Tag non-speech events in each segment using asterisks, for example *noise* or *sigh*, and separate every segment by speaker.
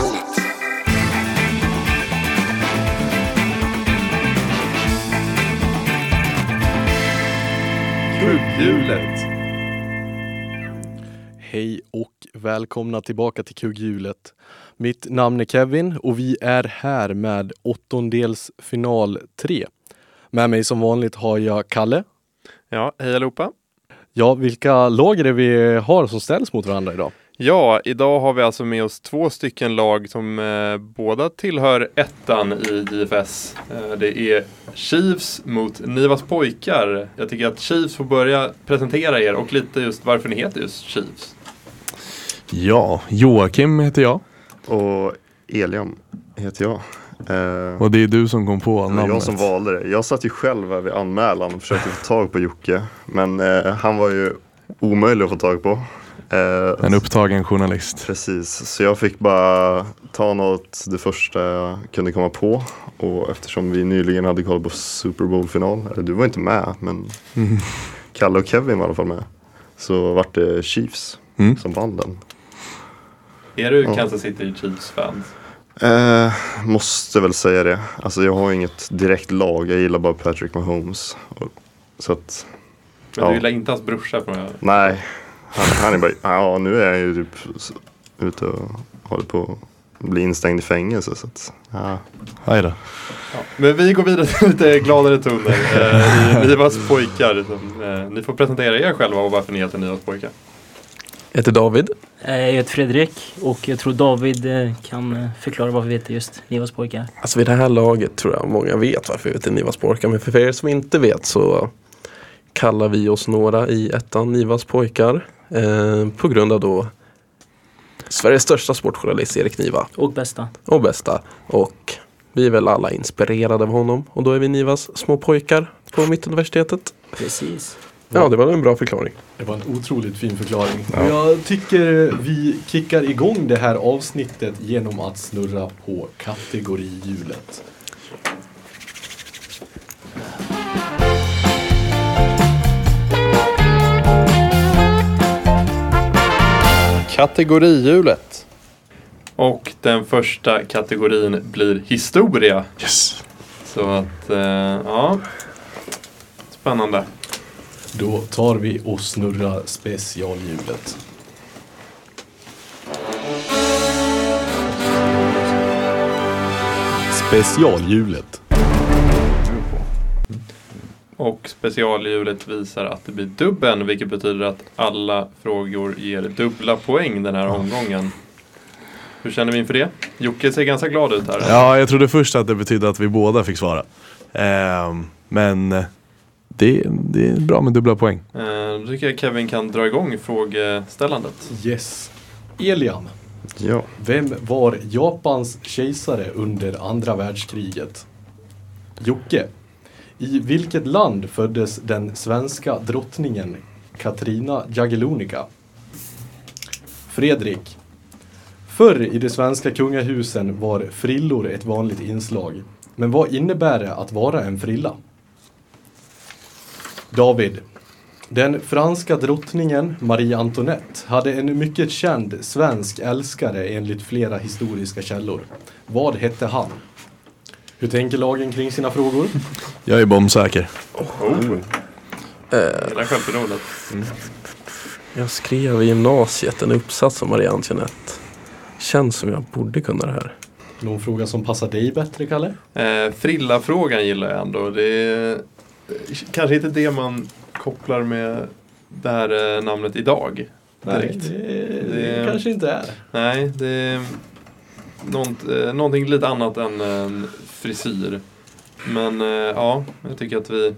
Speaker 1: Svallet.
Speaker 2: Kugghjulet! Hej och välkomna tillbaka till Kugghjulet. Mitt namn är Kevin och vi är här med åttondelsfinal 3. Med mig som vanligt har jag Kalle.
Speaker 3: Ja, hej allihopa.
Speaker 2: Ja, vilka lag är det vi har som ställs mot varandra idag?
Speaker 3: Ja, idag har vi alltså med oss två stycken lag som eh, båda tillhör ettan i JFS. Eh, det är Chiefs mot Nivas pojkar. Jag tycker att Chiefs får börja presentera er och lite just varför ni heter just Chiefs.
Speaker 4: Ja, Joakim heter jag
Speaker 5: Och Eliam heter jag. Eh,
Speaker 4: och det är du som kom på
Speaker 5: det var
Speaker 4: namnet.
Speaker 5: jag som valde det. Jag satt ju själv här vid anmälan och försökte få tag på Jocke. Men eh, han var ju omöjlig att få tag på. Eh,
Speaker 4: En upptagen journalist.
Speaker 5: Precis, så jag fick bara ta något det första jag kunde komma på. Och eftersom vi nyligen hade kollat på Super Bowl-final, eller du var inte med, men
Speaker 4: Mm.
Speaker 5: Kalle och Kevin var i alla fall med. Så vart det Chiefs
Speaker 4: Mm.
Speaker 5: som vann den.
Speaker 3: Är du
Speaker 5: Ja.
Speaker 3: Kansas City Chiefs-fans?
Speaker 5: Eh, måste väl säga det. Alltså jag har inget direkt lag, jag gillar bara Patrick Mahomes. Och, så att,
Speaker 3: Men
Speaker 5: Ja.
Speaker 3: du gillar inte hans brorsa från
Speaker 5: nej. Han, han är bara, ja nu är jag ju typ s- ute och håller på att bli instängd i fängelse. Så att, ja.
Speaker 4: Aj då.
Speaker 3: Ja. Men vi går vidare till lite gladare toner eh, i Nivas pojkar. Som, eh, ni får presentera er själva och varför ni heter Nivas pojkar.
Speaker 6: Jag heter David.
Speaker 7: Eh, Jag heter Fredrik och jag tror David eh, kan eh, förklara varför vi heter just Nivas pojkar.
Speaker 6: Alltså vid det här laget tror jag många vet varför vi heter Nivas pojkar. Men för er som inte vet så kallar vi oss några i ettan Nivas pojkar. Eh, på grund av då Sveriges största sportjournalist Erik Niva
Speaker 7: Och bästa.
Speaker 6: och bästa. Och vi är väl alla inspirerade av honom. Och då är vi Nivas små pojkar på Mittuniversitetet.
Speaker 7: Precis.
Speaker 6: Ja, det var en bra förklaring.
Speaker 2: Det var en otroligt fin förklaring. Jag tycker vi kickar igång det här avsnittet genom att snurra på kategorihjulet.
Speaker 3: Kategorihjulet. Och den första kategorin blir historia.
Speaker 4: Yes.
Speaker 3: Så att, eh, ja. Spännande.
Speaker 2: Då tar vi och snurrar specialhjulet. Specialhjulet.
Speaker 3: Och specialhjulet visar att det blir dubben, vilket betyder att alla frågor ger dubbla poäng den här omgången. Hur känner vi inför det? Jocke ser ganska glad ut här.
Speaker 4: Ja, jag trodde först att det betydde att vi båda fick svara. Ehm, men eh, det, det är bra med dubbla poäng.
Speaker 3: Eh, Då tycker jag Kevin kan dra igång frågeställandet.
Speaker 2: Yes. Eliam,
Speaker 5: ja.
Speaker 2: vem var Japans kejsare under andra världskriget? Jocke, i vilket land föddes den svenska drottningen Katarina Jagellonica? Fredrik, förr i de svenska kungahusen var frillor ett vanligt inslag. Men vad innebär det att vara en frilla? David. Den franska drottningen Marie Antoinette hade en mycket känd svensk älskare enligt flera historiska källor. Vad hette han? Hur tänker lagen kring sina frågor?
Speaker 4: Jag är bombsäker.
Speaker 3: Hela självförtroendet.
Speaker 6: Jag skrev i gymnasiet en uppsats om Marie Antoinette. Känns som jag borde kunna det här.
Speaker 2: Någon fråga som passar dig bättre, Kalle?
Speaker 3: Eh, Frilla-frågan gillar jag ändå. Det är eh, kanske inte det man kopplar med det här eh, namnet idag. Direkt.
Speaker 2: Nej, det,
Speaker 3: Det-
Speaker 2: kanske inte är.
Speaker 3: Nej, det är nånt, eh, någonting lite annat än en frisyr. Men eh, ja, jag tycker att vi...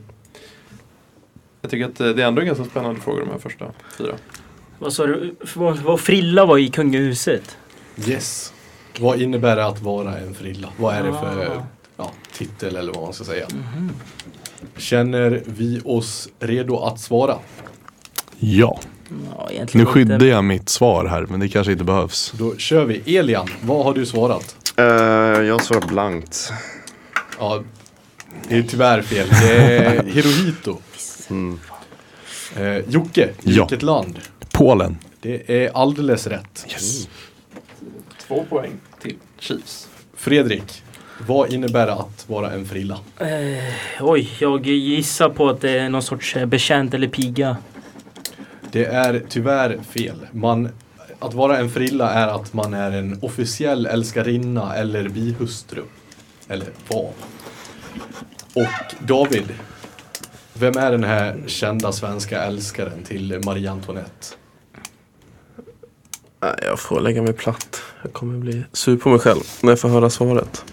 Speaker 3: Jag tycker att eh, det är ändå ganska spännande frågor de här första fyra.
Speaker 7: Vad sa du? F- Vad, vad Frilla var i kungahuset?
Speaker 2: Yes. Vad innebär det att vara en frilla? Vad är det för
Speaker 7: Ah.
Speaker 2: ja, titel eller vad man ska säga? Känner vi oss redo att svara?
Speaker 4: Ja,
Speaker 7: Ja, egentligen
Speaker 4: nu
Speaker 7: inte.
Speaker 4: skyddar jag mitt svar här men det kanske inte behövs.
Speaker 2: Då kör vi. Elian, vad har du svarat?
Speaker 5: Eh, jag svarar blankt.
Speaker 2: Ja, det är tyvärr fel. Det är Hirohito. Mm. Eh, Jocke,
Speaker 4: Ja.
Speaker 2: vilket land?
Speaker 4: Polen.
Speaker 2: Det är alldeles rätt.
Speaker 4: Yes.
Speaker 3: Två poäng till Chiefs.
Speaker 2: Fredrik, vad innebär det att vara en frilla?
Speaker 7: Oj, jag gissar på att det är någon sorts eh, betjänt eller piga.
Speaker 2: Det är tyvärr fel. Man, att vara en frilla är att man är en officiell älskarinna eller bihustru. Eller var. Och David, vem är den här kända svenska älskaren till Marie Antoinette?
Speaker 6: Nej, jag får lägga mig platt. Jag kommer bli sur på mig själv när jag får höra svaret.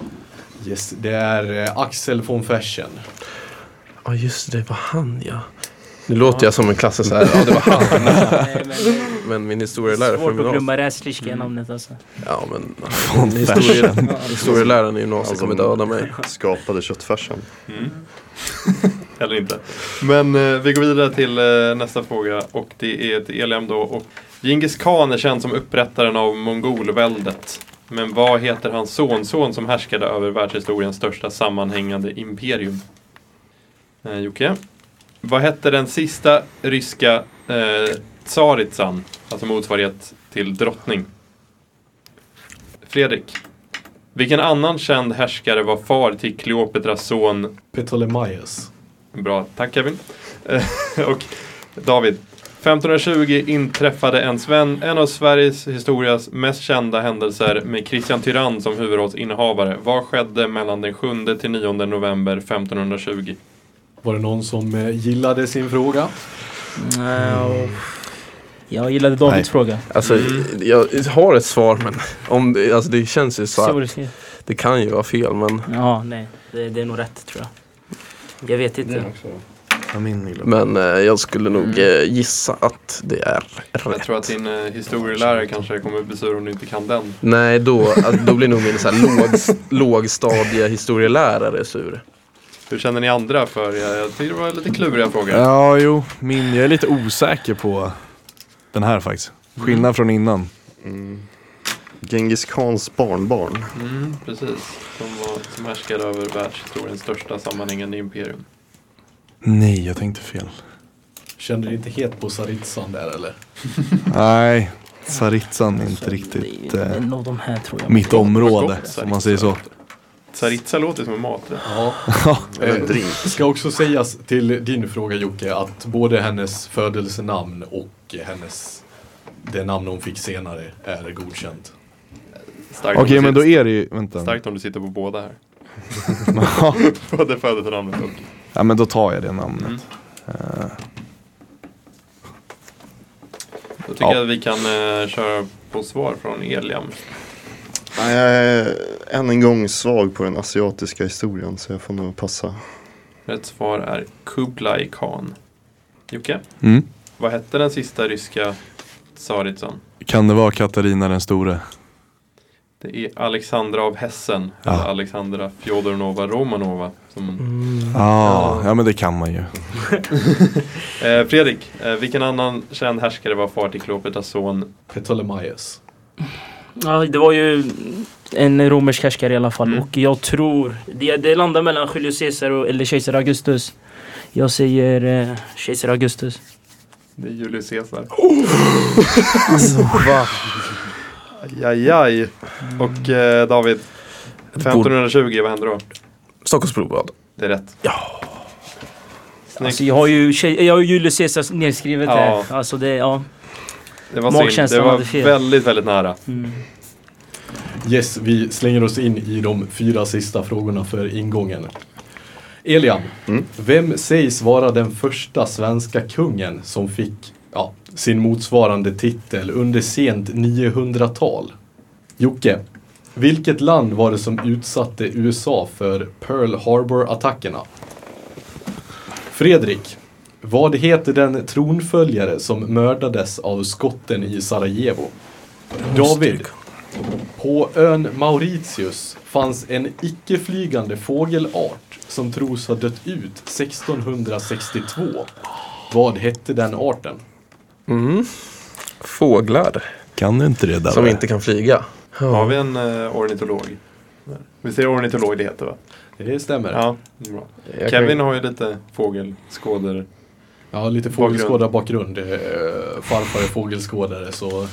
Speaker 2: Yes, det är eh, Axel von Fersen.
Speaker 6: Ja, just det. Det var han, ja. Nu låter jag som en klassisk så här. Ja, det var han.
Speaker 7: *laughs* Nej, men,
Speaker 6: Men min historielärare från
Speaker 7: svårt
Speaker 6: gymnasiet.
Speaker 7: att glömma det
Speaker 4: Mm.
Speaker 7: sliskiga namnet alltså.
Speaker 6: Ja, men min historie, historieläraren i gymnasiet kommer döda
Speaker 5: mm.
Speaker 6: mig.
Speaker 5: Skapade köttfärsen.
Speaker 3: Eller inte. Men eh, vi går vidare till eh, nästa fråga och det är till Eliam då. Och Genghis khan är känd som upprättaren av mongolväldet. Men vad heter hans sonson som härskade över världshistoriens största sammanhängande imperium? Eh, Jocke? Vad hette den sista ryska eh, tsaritsan? Alltså motsvarighet till drottning. Fredrik? Vilken annan känd härskare var far till Kleopatras son
Speaker 2: Ptolemaios.
Speaker 3: Bra, tack Kevin. Eh, *laughs* och David. 1520 inträffade en, sven, en av Sveriges historias mest kända händelser med Kristian Tyrann som huvudrollsinnehavare. Vad skedde mellan den 7 till 9 november 1520?
Speaker 2: Var det någon som eh, gillade sin fråga?
Speaker 7: Mm. Jag gillade Davids
Speaker 4: Nej.
Speaker 7: fråga.
Speaker 6: Alltså, jag har ett svar, men om det, alltså, det känns ju så här.
Speaker 7: Sorry.
Speaker 6: Det kan ju vara fel, men,
Speaker 7: Ja, nej. Det, det är nog rätt tror jag. Jag vet inte.
Speaker 4: Min lilla.
Speaker 6: men eh, jag skulle nog
Speaker 7: Mm.
Speaker 6: eh, gissa att det är
Speaker 3: Jag
Speaker 6: rätt.
Speaker 3: tror att din eh, historielärare kanske kommer bli sur om du inte kan den.
Speaker 6: Nej, då, alltså, då blir nog min så här låg, lågstadiehistorielärare sur.
Speaker 3: Hur känner ni andra för? Jag, jag tycker det var lite kluriga frågor.
Speaker 4: Ja, jo. Min, jag är lite osäker på den här faktiskt. Skillnad från innan.
Speaker 5: Genghis Khans barnbarn.
Speaker 3: Mm, precis. Som, var, som härskade över världshistoriens största sammanhängande imperium.
Speaker 4: Nej, jag tänkte fel.
Speaker 2: Kände du inte het på Saritsan där eller?
Speaker 4: Nej, Saritsan är inte riktigt
Speaker 7: Det är
Speaker 4: eh,
Speaker 7: någon av de här tror jag.
Speaker 4: mitt område, om man säger så.
Speaker 3: Tsaritsa låter som en maträtt.
Speaker 2: Ja. Eh,
Speaker 5: Eller drink.
Speaker 2: Ska också sägas till din fråga Jocke att både hennes födelsenamn och hennes det namn hon fick senare är godkänt.
Speaker 3: Starkt
Speaker 4: Okej,
Speaker 3: om du
Speaker 4: men
Speaker 3: sitter-
Speaker 4: då är det ju, vänta.
Speaker 3: Starkt om du sitter på båda här.
Speaker 4: Ja.
Speaker 3: *laughs* Både födelsenamnet och...
Speaker 4: ja, men då tar jag det namnet.
Speaker 3: Mm. Då tycker
Speaker 4: Ja.
Speaker 3: jag att vi kan eh, köra på svar från Eliam.
Speaker 5: Nej, Jag är än en gång svag på den asiatiska historien så jag får nog passa.
Speaker 3: Rätt svar är Kublai Khan. Jocke,
Speaker 4: Mm.
Speaker 3: vad hette den sista ryska tsaritsan?
Speaker 4: Kan det vara Katarina den store?
Speaker 3: Det är Alexandra av Hessen,
Speaker 4: Ja.
Speaker 3: eller Alexandra Fjodornova Romanova. Som,
Speaker 4: Ah, ja, men det kan man ju.
Speaker 3: eh, Fredrik, eh, vilken annan känd härskare var far till Kleopatras son?
Speaker 2: Ptolemaios.
Speaker 7: Ja, det var ju en romersk härskare i alla fall.
Speaker 3: Mm.
Speaker 7: Och jag tror... Det, det landar mellan Julius Caesar och, eller kejsar Augustus. Jag säger eh, kejsar Augustus.
Speaker 3: Det är Julius *laughs* Caesar. Alltså,
Speaker 6: Va?
Speaker 3: Ajajaj. Och eh, David, 1520, vad hände då?
Speaker 6: Stockholms blodbad.
Speaker 3: Det är rätt. Ja. Snyggt.
Speaker 7: Alltså, jag har ju kej- jag har ju Julius Caesar nedskrivet
Speaker 3: Ja.
Speaker 7: här. Alltså det, ja.
Speaker 3: Det var synd.
Speaker 7: Magkänslan
Speaker 3: Det var
Speaker 7: hade fel.
Speaker 3: väldigt, väldigt nära.
Speaker 7: Mm.
Speaker 2: Yes, vi slänger oss in i de fyra sista frågorna för ingången. Elian, vem sägs vara den första svenska kungen som fick ja, sin motsvarande titel under sent 900-tal? Jocke, vilket land var det som utsatte USA för Pearl Harbor-attackerna? Fredrik, vad heter den tronföljare som mördades av skotten i Sarajevo? David, på ön Mauritius fanns en icke-flygande fågelart som tros ha dött ut 1662. Vad hette den arten?
Speaker 6: Mm. Fåglar
Speaker 4: Kan du inte det där?
Speaker 6: som inte kan flyga.
Speaker 3: Har vi en eh, ornitolog? Vi ser ornitolog det heter va?
Speaker 2: Det stämmer. Ja,
Speaker 3: Ja, bra.
Speaker 6: Jag kan-
Speaker 3: Kevin har ju lite fågelskådor.
Speaker 2: lite fågelskådarbakgrund. Eh, farfar är fågelskådare så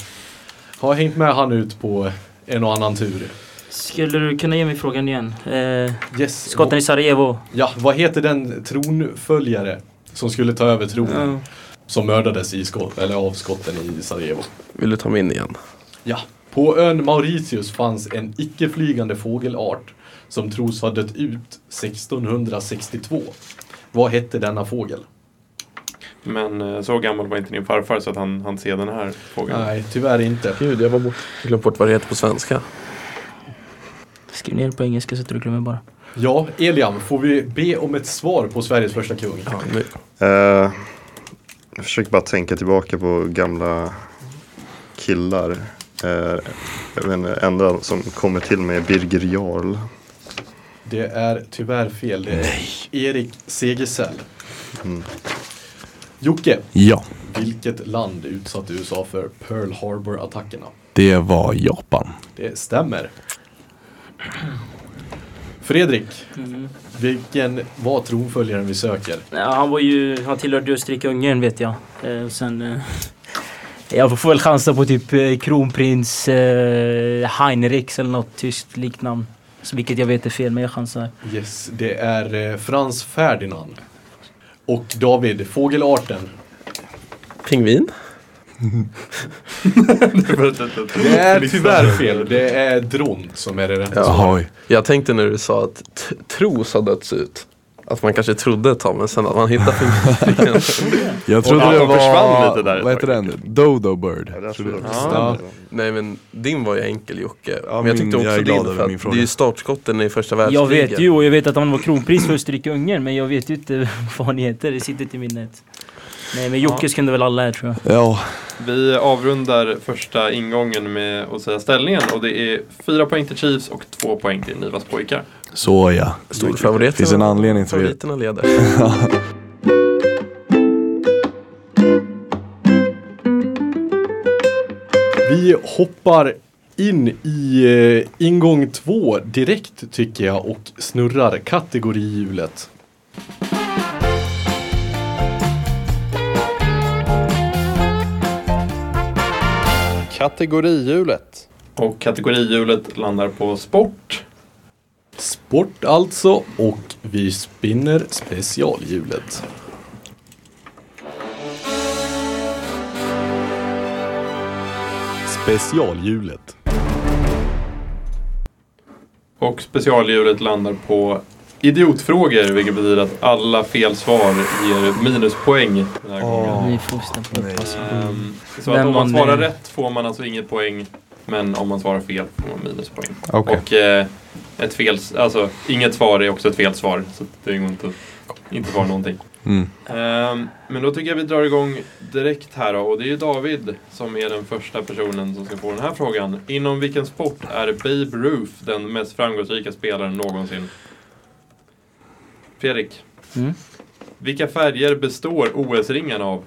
Speaker 2: har hängt med han ut på en och annan tur.
Speaker 7: Skulle du kunna ge mig frågan igen? Eh,
Speaker 2: Yes.
Speaker 7: skotten i Sarajevo.
Speaker 2: Ja, vad heter den tronföljare som skulle ta över tronen?
Speaker 7: Ja.
Speaker 2: Som mördades i skott, eller av skotten i Sarajevo.
Speaker 6: Vill du ta mig in igen?
Speaker 2: Ja. På ön Mauritius fanns en icke-flygande fågelart som tros ha dött ut 1662. Vad hette denna fågel?
Speaker 3: Men eh, så gammal var inte din farfar så att han, han ser den här fågeln. *laughs*
Speaker 2: Nej, tyvärr inte.
Speaker 6: Gud, jag var bort. Jag glömde bort vad det heter på svenska.
Speaker 7: Skriv ner på engelska så att du inte glömmer bara.
Speaker 2: Ja, Eliam, får vi be om ett svar på Sveriges första kung?
Speaker 6: Ja, nu.
Speaker 5: Eh, jag försöker bara tänka tillbaka på gamla killar. Eh, jag vet inte, enda som kommer till mig är Birger Jarl.
Speaker 2: Det är tyvärr fel. Det är Erik Segersäll. Jocke,
Speaker 4: Ja,
Speaker 2: vilket land utsatte USA för Pearl Harbor-attackerna?
Speaker 4: det var Japan.
Speaker 2: Det stämmer. Fredrik, vilken var tronföljaren vi söker?
Speaker 7: Ja, han var ju, han tillhörde ju Österrike-Ungern vet jag. Eh, och sen... Eh, jag får väl chansa på typ eh, kronprins eh, Heinrichs eller något tyskt liknamn. Så vilket jag vet är fel, men jag chansar.
Speaker 2: Yes, det är eh, Frans Ferdinand. Och David, fågelarten.
Speaker 6: Pingvin?
Speaker 2: Det är tyvärr fel. Det är dron som är det rätta svaret.
Speaker 4: Jaha.
Speaker 6: Jag tänkte när du sa att t- tros har dötts ut. Att man kanske trodde ett tag men sen att man hittar *laughs* pingvinen.
Speaker 4: Jag trodde
Speaker 3: Och
Speaker 4: det
Speaker 3: de försvann
Speaker 4: var,
Speaker 3: lite där ett
Speaker 4: vad heter
Speaker 3: tag.
Speaker 4: den? Dodo Bird.
Speaker 5: Ja, det
Speaker 4: Trodde jag.
Speaker 5: tror jag.
Speaker 3: Ja.
Speaker 6: Nej men din var ju enkel Jocke.
Speaker 4: Ja,
Speaker 6: men jag
Speaker 4: min-
Speaker 6: tyckte också
Speaker 4: jag är glad
Speaker 6: din
Speaker 4: över
Speaker 6: för att
Speaker 4: min fråga.
Speaker 6: det är ju startskotten i första
Speaker 7: Jag
Speaker 6: världskriget.
Speaker 7: vet ju och jag vet att han var kronprins för Österrike-Ungern men jag vet ju inte *laughs* vad han heter, det sitter inte i minnet. Nej men Jockes kunde väl alla här tror jag.
Speaker 4: Ja,
Speaker 3: Vi avrundar första ingången med att säga ställningen och det är fyra poäng till Chiefs och två poäng till Nivas pojkar.
Speaker 4: så ja.
Speaker 6: Storfavoriten.
Speaker 4: Finns en anledning till det.
Speaker 6: Favoriterna
Speaker 4: Mm.
Speaker 6: leder.
Speaker 2: Vi hoppar in i eh, ingång två direkt tycker jag och snurrar kategorihjulet.
Speaker 3: Kategorihjulet. Och kategorihjulet landar på sport.
Speaker 2: Sport alltså och vi spinner specialhjulet. Specialhjulet.
Speaker 3: Och specialhjulet landar på idiotfrågor vilket betyder att alla fel svar ger minuspoäng den här gången.
Speaker 7: Vi får stämpla upp alltså.
Speaker 3: Ehm, Så
Speaker 7: Vem
Speaker 3: att om man
Speaker 7: man
Speaker 3: svarar
Speaker 7: nu-
Speaker 3: rätt får man alltså inget poäng. Men om man svarar fel får man minuspoäng.
Speaker 4: Okej.
Speaker 3: Och eh, ett fel, alltså inget svar är också ett fel svar. Så det går inte att inte svara någonting.
Speaker 4: Mm.
Speaker 3: Ehm, men då tycker jag vi drar igång direkt här då. Och det är ju David som är den första personen som ska få den här frågan. Inom vilken sport är Babe Ruth den mest framgångsrika spelaren någonsin? Fredrik.
Speaker 7: Mm.
Speaker 3: Vilka färger består OS-ringarna av?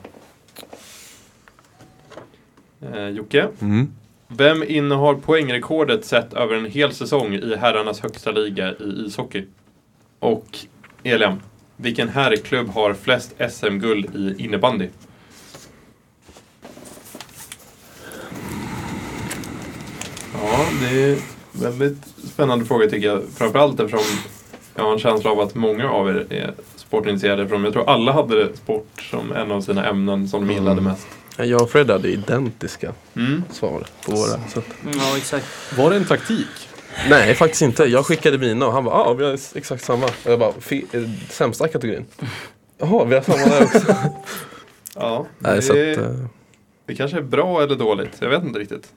Speaker 3: Eh, Jocke.
Speaker 4: Mm.
Speaker 3: Vem innehar poängrekordet sett över en hel säsong i herrarnas högsta liga i ishockey? Och Elian, vilken herrklubb har flest SM-guld i innebandy? Ja, det är väldigt spännande fråga tycker jag. Framförallt eftersom jag har en känsla av att många av er är sportintresserade. Eftersom jag tror alla hade sport som en av sina ämnen som de gillade mest.
Speaker 6: Jag och Fred hade identiska
Speaker 3: Mm.
Speaker 6: svar på våra. Så att,
Speaker 7: Ja exakt.
Speaker 2: Var det en taktik?
Speaker 6: nej faktiskt inte. Jag skickade mina och han bara ah, vi har exakt samma. Och jag bara "Fe- eh, sämsta kategorin. Jaha, vi har samma där också.
Speaker 3: Ja,
Speaker 6: nej, så
Speaker 3: det-
Speaker 6: att, eh,
Speaker 3: Det kanske är bra eller dåligt, jag vet inte riktigt.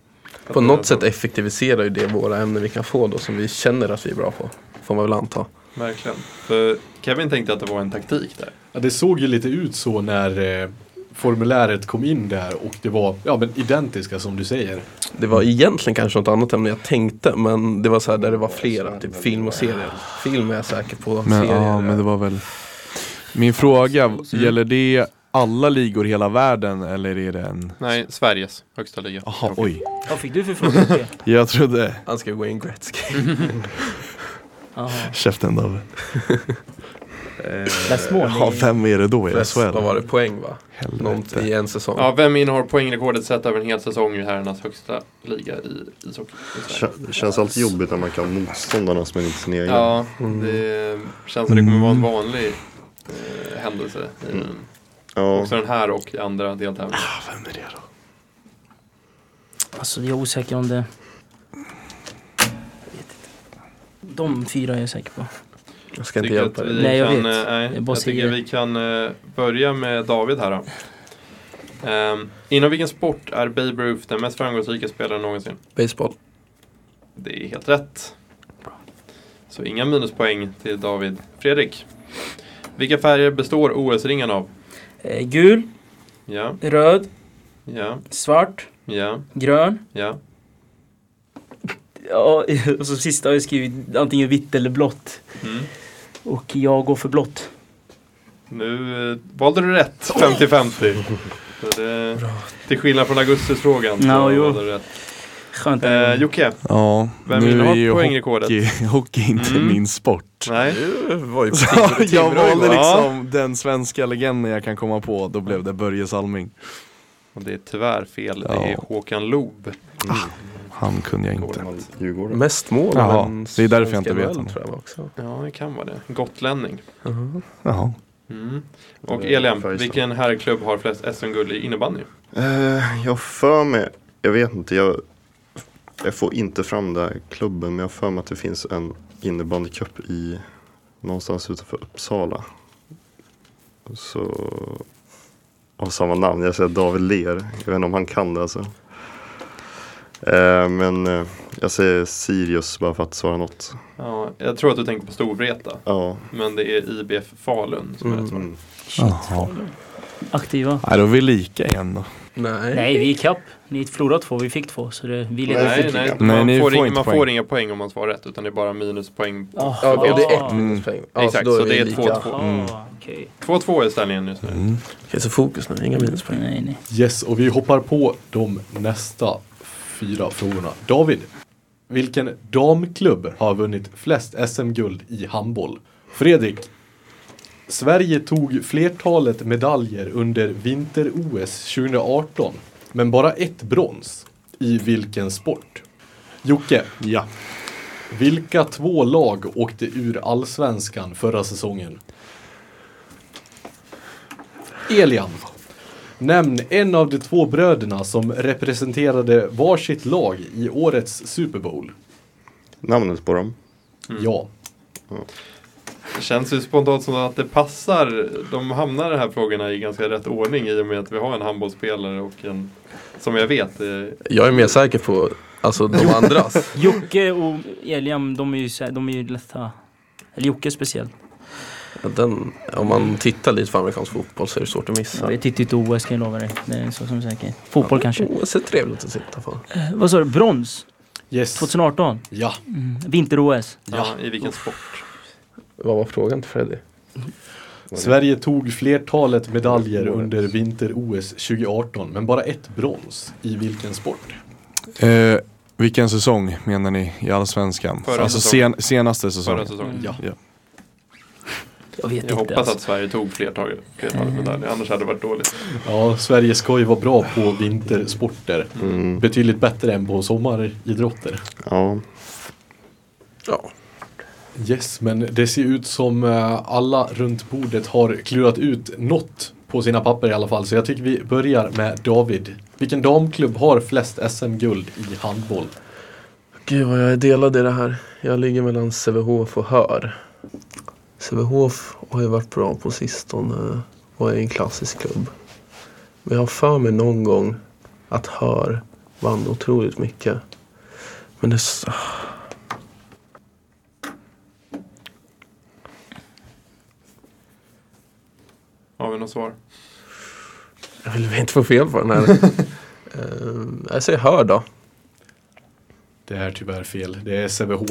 Speaker 6: på något sätt effektiviserar ju det våra ämnen vi kan få då som vi känner att vi är bra på. Får man väl anta.
Speaker 3: Verkligen. För Kevin tänkte att det var en taktik där.
Speaker 2: Ja, det såg ju lite ut så när eh, formuläret kom in där och det var ja, men identiska som du säger.
Speaker 6: Det
Speaker 4: Mm.
Speaker 6: var egentligen kanske något annat ämne jag tänkte men det var så här där det var flera, typ film och serier. Film är jag säker på,
Speaker 4: Men,
Speaker 6: serier.
Speaker 4: ja, men det var väl... Min fråga, gäller det alla ligor i hela världen eller är det en...
Speaker 3: Nej, Sveriges högsta liga.
Speaker 4: Jaha, oj.
Speaker 7: Vad fick du för fråga?
Speaker 4: Jag trodde...
Speaker 6: Han ska Wayne Gretzky.
Speaker 7: Jaha.
Speaker 4: Käften David.
Speaker 7: Plasmon
Speaker 4: Ja, vem är det då i
Speaker 6: Flest, vad
Speaker 4: SHL?
Speaker 6: var det, poäng va? Något
Speaker 4: Helvete.
Speaker 6: i en säsong.
Speaker 3: Ja, vem innehar poängrekordet sett över en hel säsong i herrarnas högsta liga i ishockey? i Sverige?
Speaker 5: Kä- Det känns alltid jobbigt när man kan motståndarnas men inte sin egen.
Speaker 3: Ja,
Speaker 6: Mm.
Speaker 3: det känns som det kommer vara en vanlig eh, händelse. i
Speaker 6: Mm.
Speaker 3: den-
Speaker 5: Ja,
Speaker 3: Också den här och i andra deltävlingar.
Speaker 4: Vem är det då?
Speaker 7: Alltså jag är osäker om det. Jag vet inte. De fyra är jag säker på.
Speaker 6: Jag ska inte
Speaker 3: Tycker
Speaker 6: hjälpa
Speaker 3: att
Speaker 6: dig.
Speaker 3: vi
Speaker 7: Nej, jag
Speaker 3: kan,
Speaker 7: vet.
Speaker 3: eh, nej,
Speaker 7: Jag
Speaker 3: jag
Speaker 7: bara
Speaker 3: tycker
Speaker 7: säger.
Speaker 3: vi kan eh, börja med David här då. Ehm, inom vilken sport är Babe Ruth den mest framgångsrika spelaren någonsin?
Speaker 6: Baseball.
Speaker 3: Det är helt rätt. Så inga minuspoäng till David. Fredrik, vilka färger består OS-ringen av?
Speaker 7: Eh, gul,
Speaker 3: Ja,
Speaker 7: röd,
Speaker 3: ja,
Speaker 7: svart,
Speaker 3: ja,
Speaker 7: grön.
Speaker 3: ja.
Speaker 7: Ja, *laughs* och så sista har jag skrivit antingen vitt eller blått.
Speaker 3: Mm.
Speaker 7: Och jag går för blått.
Speaker 3: Nu eh, valde du rätt, 50-50. Så det, till skillnad från augustisfrågan så
Speaker 7: Ja, jo. Mm.
Speaker 3: valde du rätt.
Speaker 7: Skönt.
Speaker 3: Eh, Jocke,
Speaker 4: Ja,
Speaker 3: Vem
Speaker 4: nu
Speaker 3: innehar
Speaker 4: är ju
Speaker 3: poängrekordet?
Speaker 4: hockey, *laughs* hockey inte
Speaker 3: Mm.
Speaker 4: min sport.
Speaker 3: nej.
Speaker 6: Du var ju
Speaker 4: *laughs*
Speaker 6: på
Speaker 4: Så
Speaker 6: Timrå igår.
Speaker 4: jag valde
Speaker 3: igår.
Speaker 4: liksom den svenska legenden jag kan komma på, då blev det Börje Salming.
Speaker 3: Och det är tyvärr fel.
Speaker 4: Ja.
Speaker 3: Det är Håkan Loob.
Speaker 4: Han kunde jag inte.
Speaker 5: Djurgården.
Speaker 6: Mest mål
Speaker 4: Jaha,
Speaker 6: av en
Speaker 4: det är därför jag inte
Speaker 6: svensk
Speaker 4: vet
Speaker 6: NHL,
Speaker 4: honom.
Speaker 6: tror jag också.
Speaker 3: Ja, det kan vara det. Gotlänning.
Speaker 6: Jaha.
Speaker 4: Jaha.
Speaker 3: Mm. Och
Speaker 5: Det är
Speaker 3: Elian,
Speaker 5: Färjestad.
Speaker 3: vilken herrklubb har flest SM-guld i innebandy?
Speaker 5: Eh, jag har för mig, jag vet inte, jag, jag får inte fram den här klubben men jag har för mig att det finns en innebandycup i någonstans utanför Uppsala. Så av samma namn, jag säger David Ler. Jag vet inte om han kan det alltså. Eh, men eh, jag säger Sirius bara för att svara något.
Speaker 3: Ja, jag tror att du tänker på Storvreta,
Speaker 5: Ja,
Speaker 3: men det är IBF Falun som är rätt svar.
Speaker 5: mm.
Speaker 4: Jaha.
Speaker 7: Aktiva.
Speaker 4: Nej, då är vi lika igen då.
Speaker 6: Nej.
Speaker 7: Nej, vi är kapp. Ni förlorade två, vi fick två. Så det, vi leder.
Speaker 3: Nej, nej,
Speaker 5: Nej,
Speaker 3: man,
Speaker 4: ni
Speaker 3: får,
Speaker 4: får
Speaker 3: ing-
Speaker 4: inte
Speaker 3: man
Speaker 4: poäng.
Speaker 3: får inga poäng om man svarar rätt, utan det är bara minuspoäng.
Speaker 7: Ah,
Speaker 6: Ja, och det är
Speaker 7: ah,
Speaker 6: ett minuspoäng. Ja,
Speaker 3: Exakt,
Speaker 6: då
Speaker 3: så det är
Speaker 6: lika.
Speaker 3: 2-2.
Speaker 7: ah,
Speaker 3: Mm.
Speaker 7: okej.
Speaker 3: 2-2 är ställningen just nu.
Speaker 4: Mm.
Speaker 6: Okej, så fokus nu. Inga minuspoäng.
Speaker 7: Nej, nej.
Speaker 2: Yes, och vi hoppar på de nästa fyra frågorna. David, vilken damklubb har vunnit flest SM-guld i handboll? Fredrik, Sverige tog flertalet medaljer under vinter-OS 2018, men bara ett brons. I vilken sport? Jocke,
Speaker 4: Ja.
Speaker 2: vilka två lag åkte ur allsvenskan förra säsongen? Elian. Nämn en av de två bröderna som representerade varsitt lag i årets Super Bowl.
Speaker 5: Namnet på dem.
Speaker 2: Ja.
Speaker 3: Det känns ju spontant som att det passar. De hamnar de här frågorna i ganska rätt ordning i och med att vi har en handbollsspelare och en, som jag vet, eh,
Speaker 6: Jag är mer säker på alltså, de *laughs* andras.
Speaker 7: Jocke och Eliam, de är ju, så här- de är ju lätta. Eller Jocke speciellt.
Speaker 6: Den, om man tittar lite på amerikansk fotboll så är det svårt att
Speaker 7: Ja,
Speaker 6: missa.
Speaker 7: jag tittar inte OS kan jag lova dig. Det är så som säkert. Fotboll kanske.
Speaker 6: Oh, det ser trevligt att titta på.
Speaker 7: Eh, vad sa du? Brons?
Speaker 2: Yes.
Speaker 7: 2018?
Speaker 2: Ja.
Speaker 7: Mm. Vinter-OS?
Speaker 3: ja, i vilken sport.
Speaker 6: Vad var frågan till Freddy?
Speaker 2: Sverige tog flertalet medaljer under vinter-OS 2018, men bara ett brons. I vilken sport?
Speaker 4: Eh, vilken säsong menar ni i Allsvenskan?
Speaker 3: Förra
Speaker 4: alltså
Speaker 3: säsongen.
Speaker 4: sen, senaste
Speaker 3: Förra
Speaker 4: säsongen.
Speaker 3: säsongen.
Speaker 2: Mm. Ja.
Speaker 7: Jag vet
Speaker 3: Jag
Speaker 7: inte.
Speaker 3: hoppas
Speaker 7: Alltså.
Speaker 3: att Sverige tog flertalet, flertalet medaljer, annars hade det varit dåligt.
Speaker 2: Ja, Sverige ska ju vara bra på vintersporter.
Speaker 5: Mm.
Speaker 2: Betydligt bättre än på sommaridrotter.
Speaker 5: Ja.
Speaker 6: Ja.
Speaker 2: Yes, men det ser ut som eh, alla runt bordet har klurat ut något på sina papper i alla fall. Så jag tycker vi börjar med David. Vilken damklubb har flest SM-guld i handboll?
Speaker 6: Gud vad jag är delad i det här. Jag ligger mellan Sävehof och Hör. Sävehof har ju varit bra på sistone och är en klassisk klubb. Men jag har för mig någon gång att Hör vann otroligt mycket. Men det... s-
Speaker 3: Har vi något svar?
Speaker 6: Jag vill väl inte få fel på den *laughs* här. Ehm, jag säger Hör då.
Speaker 2: Det är tyvärr fel. Det är Sävehof.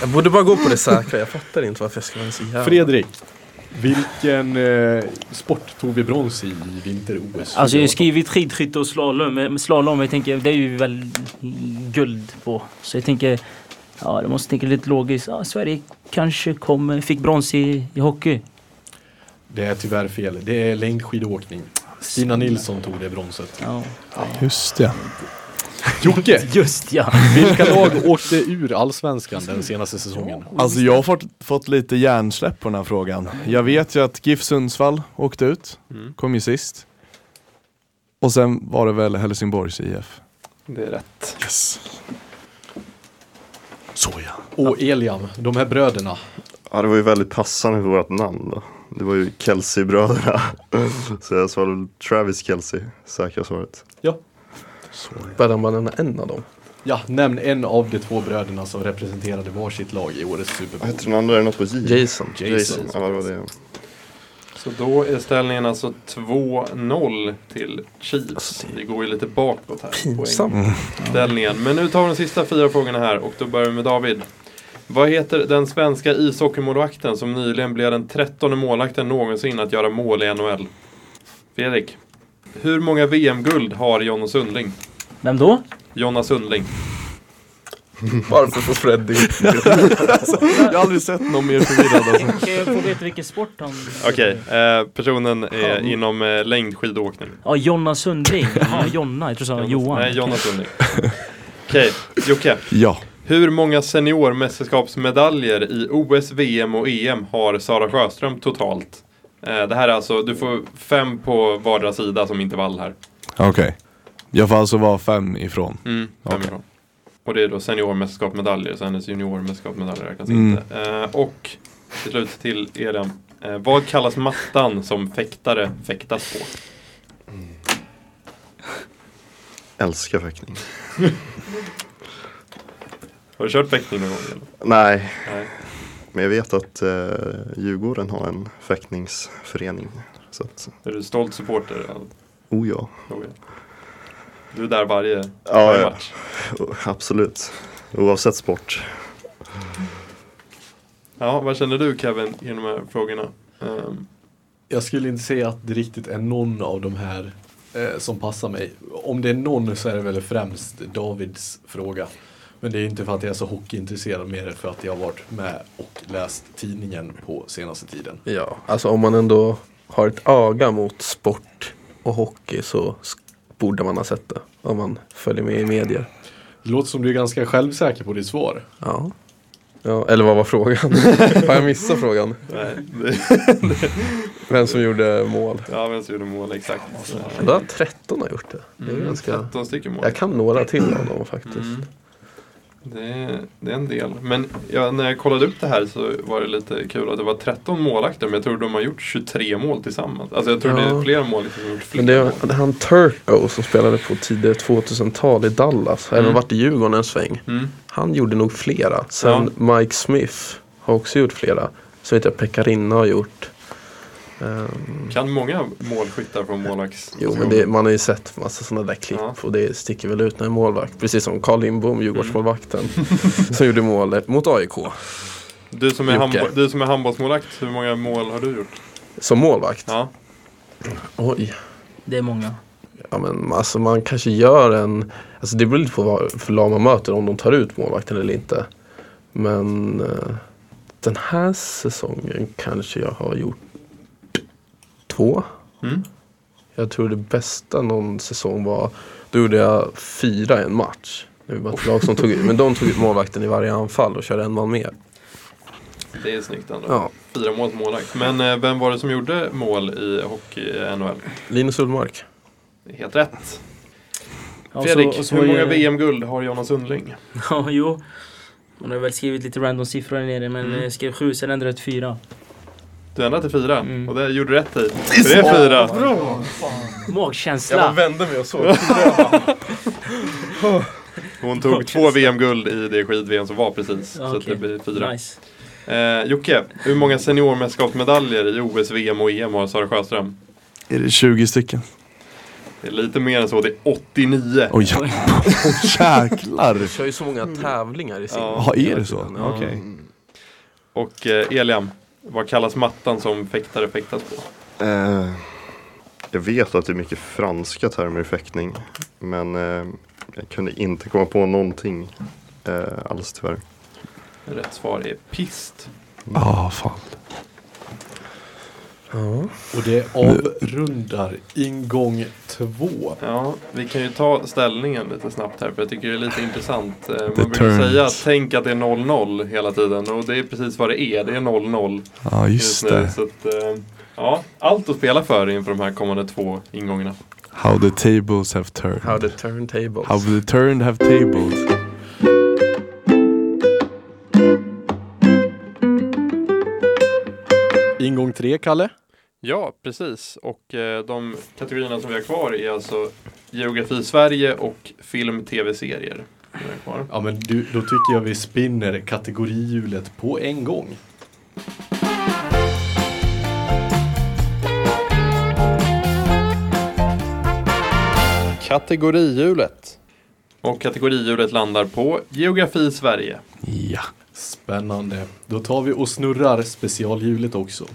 Speaker 6: Jag borde bara gå på det säkra. Jag fattar inte varför jag ska vara så jävla...
Speaker 2: Fredrik, vilken eh, sport tog vi brons i i vinter-OS?
Speaker 7: alltså jag har skrivit skidskytte och slalom. Men men slalom, jag tänker, det är ju väl guld på. Så jag tänker Ja, det måste tänka lite logiskt. Ja, Sverige kanske kom, fick brons i, i hockey.
Speaker 2: Det är tyvärr fel. Det är längdskidåkning. Stina Nilsson tog det bronset.
Speaker 7: Ja.
Speaker 1: Just det.
Speaker 2: Jocke,
Speaker 7: *laughs* Just ja.
Speaker 2: vilka lag åkte ur allsvenskan den senaste säsongen?
Speaker 4: Alltså jag har fått, fått lite hjärnsläpp på den här frågan. Jag vet ju att GIF Sundsvall åkte ut,
Speaker 3: Mm.
Speaker 4: kom ju sist. Och sen var det väl Helsingborgs IF.
Speaker 3: Det är rätt.
Speaker 4: Yes. Såja.
Speaker 2: Och Eliam, de här bröderna.
Speaker 5: Ja, det var ju väldigt passande för vårt namn då. Det var ju *laughs* Kelsey-bröderna. Så jag svarade väl Travis Kelsey, säkra svaret.
Speaker 2: Ja.
Speaker 6: Badan Badan är en av dem.
Speaker 2: ja, nämn en av de två bröderna som representerade varsitt lag i årets Super
Speaker 5: Vad
Speaker 2: Bowl.
Speaker 5: heter den andra? Är det något på J?
Speaker 6: Jason.
Speaker 5: Jason. Ja, det var det.
Speaker 3: Så då är ställningen alltså 2-0 till Chiefs. Vi går ju lite bakåt här.
Speaker 6: Pinsamt. *laughs*
Speaker 3: Ställningen. Men nu tar vi de sista fyra frågorna här och då börjar vi med David. Vad heter den svenska ishockeymålvakten som nyligen blev den trettonde målvakten någonsin att göra mål i NHL? Fredrik. Hur många VM-guld har Jonna Sundling?
Speaker 7: Vem då?
Speaker 3: Jonna Sundling.
Speaker 6: Varför får Freddy
Speaker 4: Jag har aldrig sett någon mer förvirrad alltså.
Speaker 7: Kan jag få veta vilken sport han...
Speaker 3: Okej, eh, personen är inom eh, längdskidåkning.
Speaker 7: Ja, Jonna *laughs* Sundling. Ja, Jonna. Jag tror så Johan.
Speaker 3: Nej, Jonna Sundling. Okej, Jocke.
Speaker 4: Ja.
Speaker 3: Hur många seniormästerskapsmedaljer i OS, VM och EM har Sara Sjöström totalt? Eh, Det här är alltså, du får fem på vardera sida som intervall här.
Speaker 4: Okej. Jag får alltså vara fem ifrån.
Speaker 3: Mm, fem
Speaker 4: Okej.
Speaker 3: ifrån. Och det är då seniormästerskapsmedaljer, så hennes juniormästerskapsmedaljer räknas
Speaker 4: Mm.
Speaker 3: inte. Eh, Och till slut till Elian. Eh, Vad kallas mattan som fäktare fäktas på?
Speaker 5: Älskar fäktning.
Speaker 3: Har du kört fäktning någon gång? Eller?
Speaker 5: Nej,
Speaker 3: Nej.
Speaker 5: men jag vet att eh, Djurgården har en fäktningsförening. Så att,
Speaker 3: Är du stolt supporter? av
Speaker 5: oh ja.
Speaker 3: något? Du är där varje,
Speaker 5: Ja,
Speaker 3: varje
Speaker 5: ja.
Speaker 3: match?
Speaker 5: Oh, Absolut. Oavsett sport.
Speaker 3: Ja, vad känner du Kevin i de här frågorna? Ehm,
Speaker 2: Jag skulle inte säga att det riktigt är någon av de här eh, som passar mig. Om det är någon så är det väl främst Davids fråga. Men det är inte för att jag är så hockeyintresserad mer än för att jag har varit med och läst tidningen på senaste tiden.
Speaker 6: *laughs* Ja, alltså om man ändå har ett öga mot sport och hockey så s- borde man ha sett det. Om man följer med i medier.
Speaker 2: Det låter som du är ganska självsäker på ditt svar.
Speaker 6: Ja. ja eller vad var *laughs* frågan? har jag missat frågan?
Speaker 3: nej,
Speaker 6: *laughs* Vem som gjorde mål?
Speaker 3: ja, vem som gjorde mål exakt?
Speaker 6: Då har 13 har gjort det. det är
Speaker 3: Mm,
Speaker 6: ganska...
Speaker 3: 13 stycken mål.
Speaker 6: Alltså, Jag kan några till av dem faktiskt.
Speaker 3: Mm. Det är, det är en del. Men jag, när jag kollade upp det här så var det lite kul att det var 13 målvakter men jag tror de har gjort 23 mål tillsammans. Alltså jag tror det är
Speaker 6: Ja.
Speaker 3: fler målvakter som har gjort fler
Speaker 6: Men
Speaker 3: mål.
Speaker 6: det var det är han Turco som spelade på tidigare 2000-tal i Dallas. Även
Speaker 3: Mm.
Speaker 6: varit i Djurgården en sväng.
Speaker 3: Mm.
Speaker 6: Han gjorde nog flera. Sen Mike Smith har också gjort flera. Så vet jag Pekarinna har gjort. Ehm,
Speaker 3: Kan många målskyttar från målvakts...
Speaker 6: jo, men det, man har ju sett massa sådana där klipp
Speaker 3: Ja. Mm.
Speaker 6: och det sticker väl ut när en målvakt. Precis som Carl
Speaker 3: *laughs*
Speaker 6: Lindbom, Djurgårdsmålvakten, som gjorde målet mot AIK.
Speaker 3: Du som, är
Speaker 6: Jocke.
Speaker 3: handbo- du som är handbollsmålvakt, hur många mål har du gjort?
Speaker 6: Som målvakt.
Speaker 3: Ja.
Speaker 6: Oj.
Speaker 7: Det är många.
Speaker 6: Ja, men alltså man kanske gör en... Alltså det beror lite på vad för lag man möter, om de tar ut målvakten eller inte. Men eh, den här säsongen kanske jag har gjort två.
Speaker 3: Mm.
Speaker 6: Jag tror det bästa någon säsong var, då gjorde jag fyra i en match. Det var bara ett lag som tog ut, men de tog ut målvakten i varje anfall och körde en man mer.
Speaker 3: Det är snyggt ändå.
Speaker 6: Ja,
Speaker 3: Fyra mål som målvakt. Men eh, vem var det som gjorde mål i hockey i NHL?
Speaker 6: Linus Ullmark.
Speaker 3: Helt rätt.
Speaker 7: Ja, och så-
Speaker 3: Fredrik,
Speaker 7: och så
Speaker 3: hur
Speaker 7: var
Speaker 3: många
Speaker 7: ju-
Speaker 3: VM-guld har Jonas Sundling?
Speaker 7: *laughs* Ja, jo. Man har väl skrivit lite random siffror här nere, men
Speaker 3: Mm.
Speaker 7: mm. skrev sju, sen ändrade jag till fyra.
Speaker 3: Du ändrade till fyra
Speaker 7: Mm.
Speaker 3: och det gjorde du rätt i. Det är fyra.
Speaker 7: Magkänsla!
Speaker 6: vände mig och såg.
Speaker 3: *laughs* Hon tog två VM-guld i det skid-VM som var precis. Så
Speaker 7: Ja,
Speaker 3: att
Speaker 7: okej.
Speaker 3: det blir fyra.
Speaker 7: Nice.
Speaker 3: Eh, Jocke, hur många seniormästerskapsmedaljer i OS, VM och EM har Sara Sjöström?
Speaker 4: Är det 20 stycken?
Speaker 3: Det är lite mer än så, det är 89.
Speaker 4: Oj, jäklar.
Speaker 6: Jag kör ju så många tävlingar i sin.
Speaker 3: Ja.
Speaker 4: Ja, är det så?
Speaker 6: Ja.
Speaker 4: Okej.
Speaker 3: Mm. Och eh, Eliam, vad kallas mattan som fäktare fäktas på?
Speaker 5: Eh, jag vet att det är mycket franska termer i fäktning. Men eh, jag kunde inte komma på någonting eh, alls tyvärr.
Speaker 3: Rätt svar är pist.
Speaker 4: Ah, fan.
Speaker 6: Ja.
Speaker 2: Och det avrundar ingång två.
Speaker 3: Ja, vi kan ju ta ställningen lite snabbt här för jag tycker det är lite intressant. Eh, Man
Speaker 4: The
Speaker 3: brukar
Speaker 4: turns.
Speaker 3: säga tänk att det är 0-0 hela tiden och det är precis vad det är. Det är 0-0
Speaker 4: Ja, ah, just
Speaker 3: nu.
Speaker 4: det.
Speaker 3: Så att, eh, ja, allt att spela för inför de här kommande två ingångarna.
Speaker 4: How the tables have turned.
Speaker 6: How the turntables.
Speaker 4: How the turned have tabled.
Speaker 2: Ingång tre, Kalle.
Speaker 3: Ja, precis. Och eh, de kategorierna som vi har kvar är alltså geografi Sverige och film, tv-serier. Vi har kvar.
Speaker 2: Ja, men du, då tycker jag vi spinner kategorihjulet på en gång.
Speaker 3: Kategorihjulet. Och kategorihjulet landar på geografi Sverige.
Speaker 4: Ja.
Speaker 2: Spännande. Då tar vi och snurrar specialhjulet också.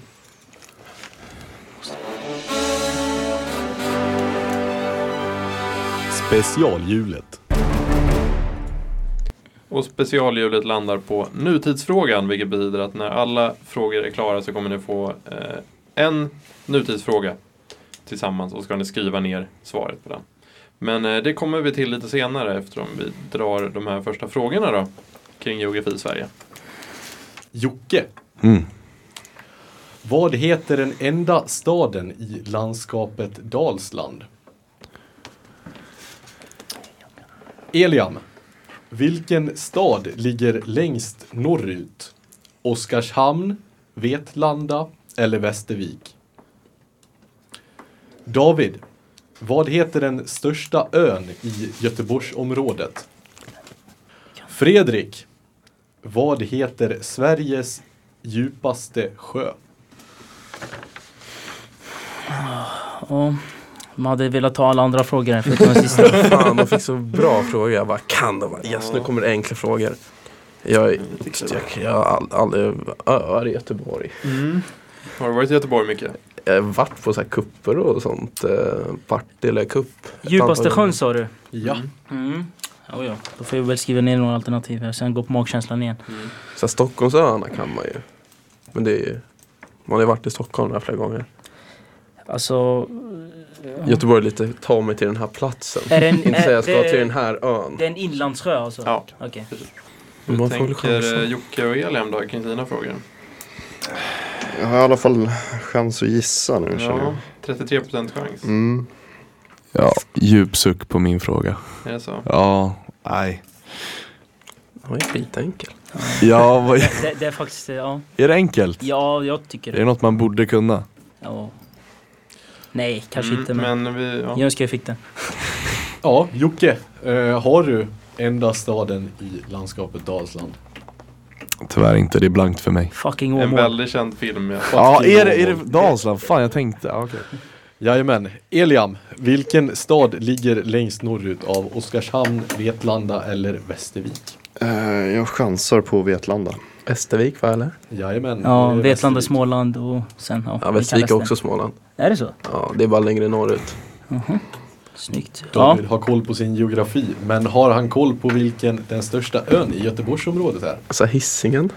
Speaker 2: Specialhjulet.
Speaker 3: Och specialhjulet landar på nutidsfrågan, vilket betyder att när alla frågor är klara så kommer ni få eh, en nutidsfråga tillsammans och ska ni skriva ner svaret på den. Men eh, det kommer vi till lite senare eftersom vi drar de här första frågorna då kring geografi i Sverige.
Speaker 2: Jocke.
Speaker 4: Mm.
Speaker 2: Vad heter den enda staden i landskapet Dalsland? Eliam. Vilken stad ligger längst norrut? Oskarshamn, Vetlanda eller Västervik? David. Vad heter den största ön i Göteborgsområdet? Fredrik. Vad heter Sveriges djupaste sjö?
Speaker 7: Ja, man hade velat ta alla andra frågor här förutom den sista.
Speaker 6: *laughs* Fan, de fick så bra fråga. Vad kan de? Yes, nu kommer det enkla frågor. Jag, är- jag, jag har all- aldrig öar i Göteborg.
Speaker 3: Har du varit i Göteborg mycket?
Speaker 6: Jag har varit på så här kupper och sånt. eh, Partille cup. Ett
Speaker 7: Djupaste
Speaker 6: antal
Speaker 7: sjön sa du?
Speaker 2: Ja.
Speaker 7: Mm. Ja, ja. Då får jag väl skriva ner några alternativ här, sen gå på magkänslan igen.
Speaker 6: gånger. Så här, Stockholmsöarna kan man ju. Men det är ju, man har ju varit i Stockholm där flera gånger.
Speaker 7: Alltså,
Speaker 6: Göteborg är lite, ta mig till den här platsen.
Speaker 7: Är det en-
Speaker 6: *laughs* Inte säga jag ska
Speaker 7: är det-
Speaker 6: till den här ön.
Speaker 7: det är en inlandssjö alltså?
Speaker 3: Ja.
Speaker 7: Okej.
Speaker 3: Hur
Speaker 6: Man får väl
Speaker 3: tänker
Speaker 6: chansa.
Speaker 3: eh, Jocke och Eliam då kring sina frågor?
Speaker 5: Jag har i alla fall chans att gissa nu känner jag.
Speaker 3: Ja, 33% chans.
Speaker 5: Mm.
Speaker 4: Ja, djup suck på min fråga.
Speaker 3: Är det så?
Speaker 4: Ja, nej.
Speaker 6: Den var ju skitenkel.
Speaker 4: Ja, vad,
Speaker 7: Det, det är faktiskt, eh, ja.
Speaker 4: är det enkelt?
Speaker 7: Ja, jag tycker
Speaker 4: Är det
Speaker 7: det.
Speaker 4: något man borde kunna?
Speaker 7: Ja. Nej, kanske
Speaker 3: Mm,
Speaker 7: inte men,
Speaker 3: vi, ja.
Speaker 7: jag önskar jag fick den.
Speaker 2: Ja, Jocke. Eh, har du enda staden i landskapet Dalsland?
Speaker 4: Tyvärr inte, det är blankt för mig.
Speaker 7: Fucking
Speaker 3: En
Speaker 7: Åmål.
Speaker 3: väldigt känd film. Ja.
Speaker 4: Ja,
Speaker 2: Fucking
Speaker 4: är det, är det
Speaker 2: Åmål.
Speaker 4: Dalsland? Fan, jag tänkte. Ja, okej.
Speaker 2: Jajamän. Eliam, vilken stad ligger längst norrut av Oskarshamn, Vetlanda eller Västervik?
Speaker 5: Eh, jag chansar på Vetlanda.
Speaker 6: Västervik va eller?
Speaker 2: Jajamän. det
Speaker 7: Ja,
Speaker 2: är
Speaker 7: Vetlanda,
Speaker 2: Västervik.
Speaker 7: Småland och sen... Ja,
Speaker 6: Ja,
Speaker 7: vi
Speaker 6: Västervik
Speaker 7: kan
Speaker 6: är
Speaker 7: resten.
Speaker 6: också Småland.
Speaker 7: Är det så?
Speaker 6: Ja, det är bara längre norrut.
Speaker 7: Snyggt. Ja.
Speaker 2: David har koll på sin geografi, men har han koll på vilken den största ön i Göteborgsområdet är?
Speaker 6: Alltså Hisingen.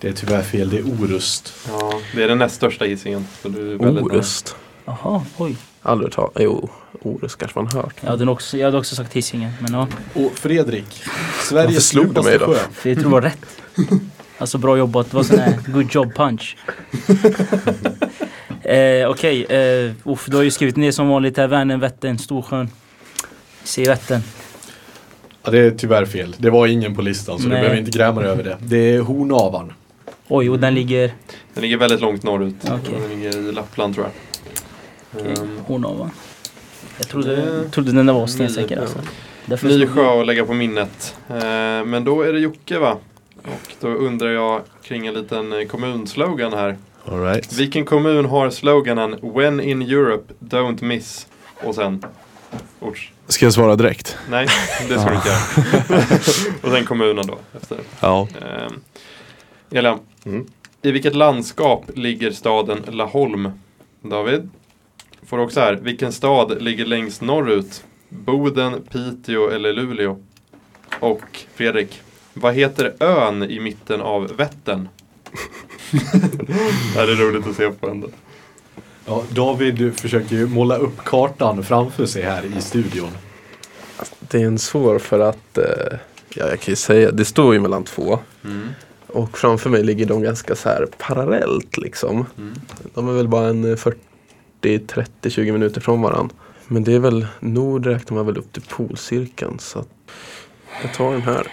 Speaker 2: Det är tyvärr fel, det är Orust.
Speaker 3: Ja, det är den näst största Hisingen. Så du är
Speaker 6: Oh,
Speaker 3: väldigt nära.
Speaker 6: Orust.
Speaker 7: Jaha, oj.
Speaker 6: Aldrig hört talas Jo, Orust kanske man hört.
Speaker 7: Jag hade, också, jag hade också sagt Hisingen, men ja.
Speaker 2: Och Fredrik,
Speaker 6: Varför
Speaker 2: Sveriges
Speaker 6: slog du
Speaker 2: djupaste
Speaker 6: mig då?
Speaker 2: sjö.
Speaker 7: Det tror jag
Speaker 3: *laughs*
Speaker 7: var rätt. Alltså bra jobbat, det var sån här good job punch. eh, Okej, eh, uff, du har ju skrivit ner som vanligt här Vänern, Vättern, Storsjön. Se Vättern.
Speaker 2: Ja, det är tyvärr fel. Det var ingen på listan, så du
Speaker 7: Nej.
Speaker 2: behöver inte gräma dig över det. Det är Hornavan.
Speaker 7: Oj, och den ligger...
Speaker 3: Den ligger väldigt långt norrut.
Speaker 7: Okej.
Speaker 3: Den ligger i Lappland tror jag. Ehm,
Speaker 7: Hornavan. Jag trodde, jag trodde den där var stensäker alltså. Därför
Speaker 3: Ny
Speaker 7: jag slog-
Speaker 3: sjö att lägga på minnet. Ehm, men då är det Jocke va? Och då undrar jag kring en liten eh, kommunslogan här.
Speaker 4: All right.
Speaker 3: Vilken kommun har sloganen When in Europe, don't miss? Och sen orts...
Speaker 4: Ska jag svara direkt?
Speaker 3: Nej, det ska du inte göra. Och sen kommunen då. Efter.
Speaker 4: Ja.
Speaker 3: Ehm, Elian,
Speaker 5: Mm.
Speaker 3: i vilket landskap ligger staden Laholm? David? Får du också här, vilken stad ligger längst norrut? Boden, Piteå eller Luleå? Och Fredrik, Vad heter ön i mitten av Vättern? *laughs* det här är roligt att se på ändå.
Speaker 2: Ja, David försöker ju måla upp kartan framför sig här i studion.
Speaker 6: Det är en svår för att, eh, ja jag kan ju säga, det står ju mellan två.
Speaker 3: Mm.
Speaker 6: Och framför mig ligger de ganska så här parallellt liksom.
Speaker 3: Mm.
Speaker 6: De är väl bara en eh, 40, 30, 20 minuter från varandra. Men det är väl, nord räknar man väl upp till polcirkeln så att jag tar den här.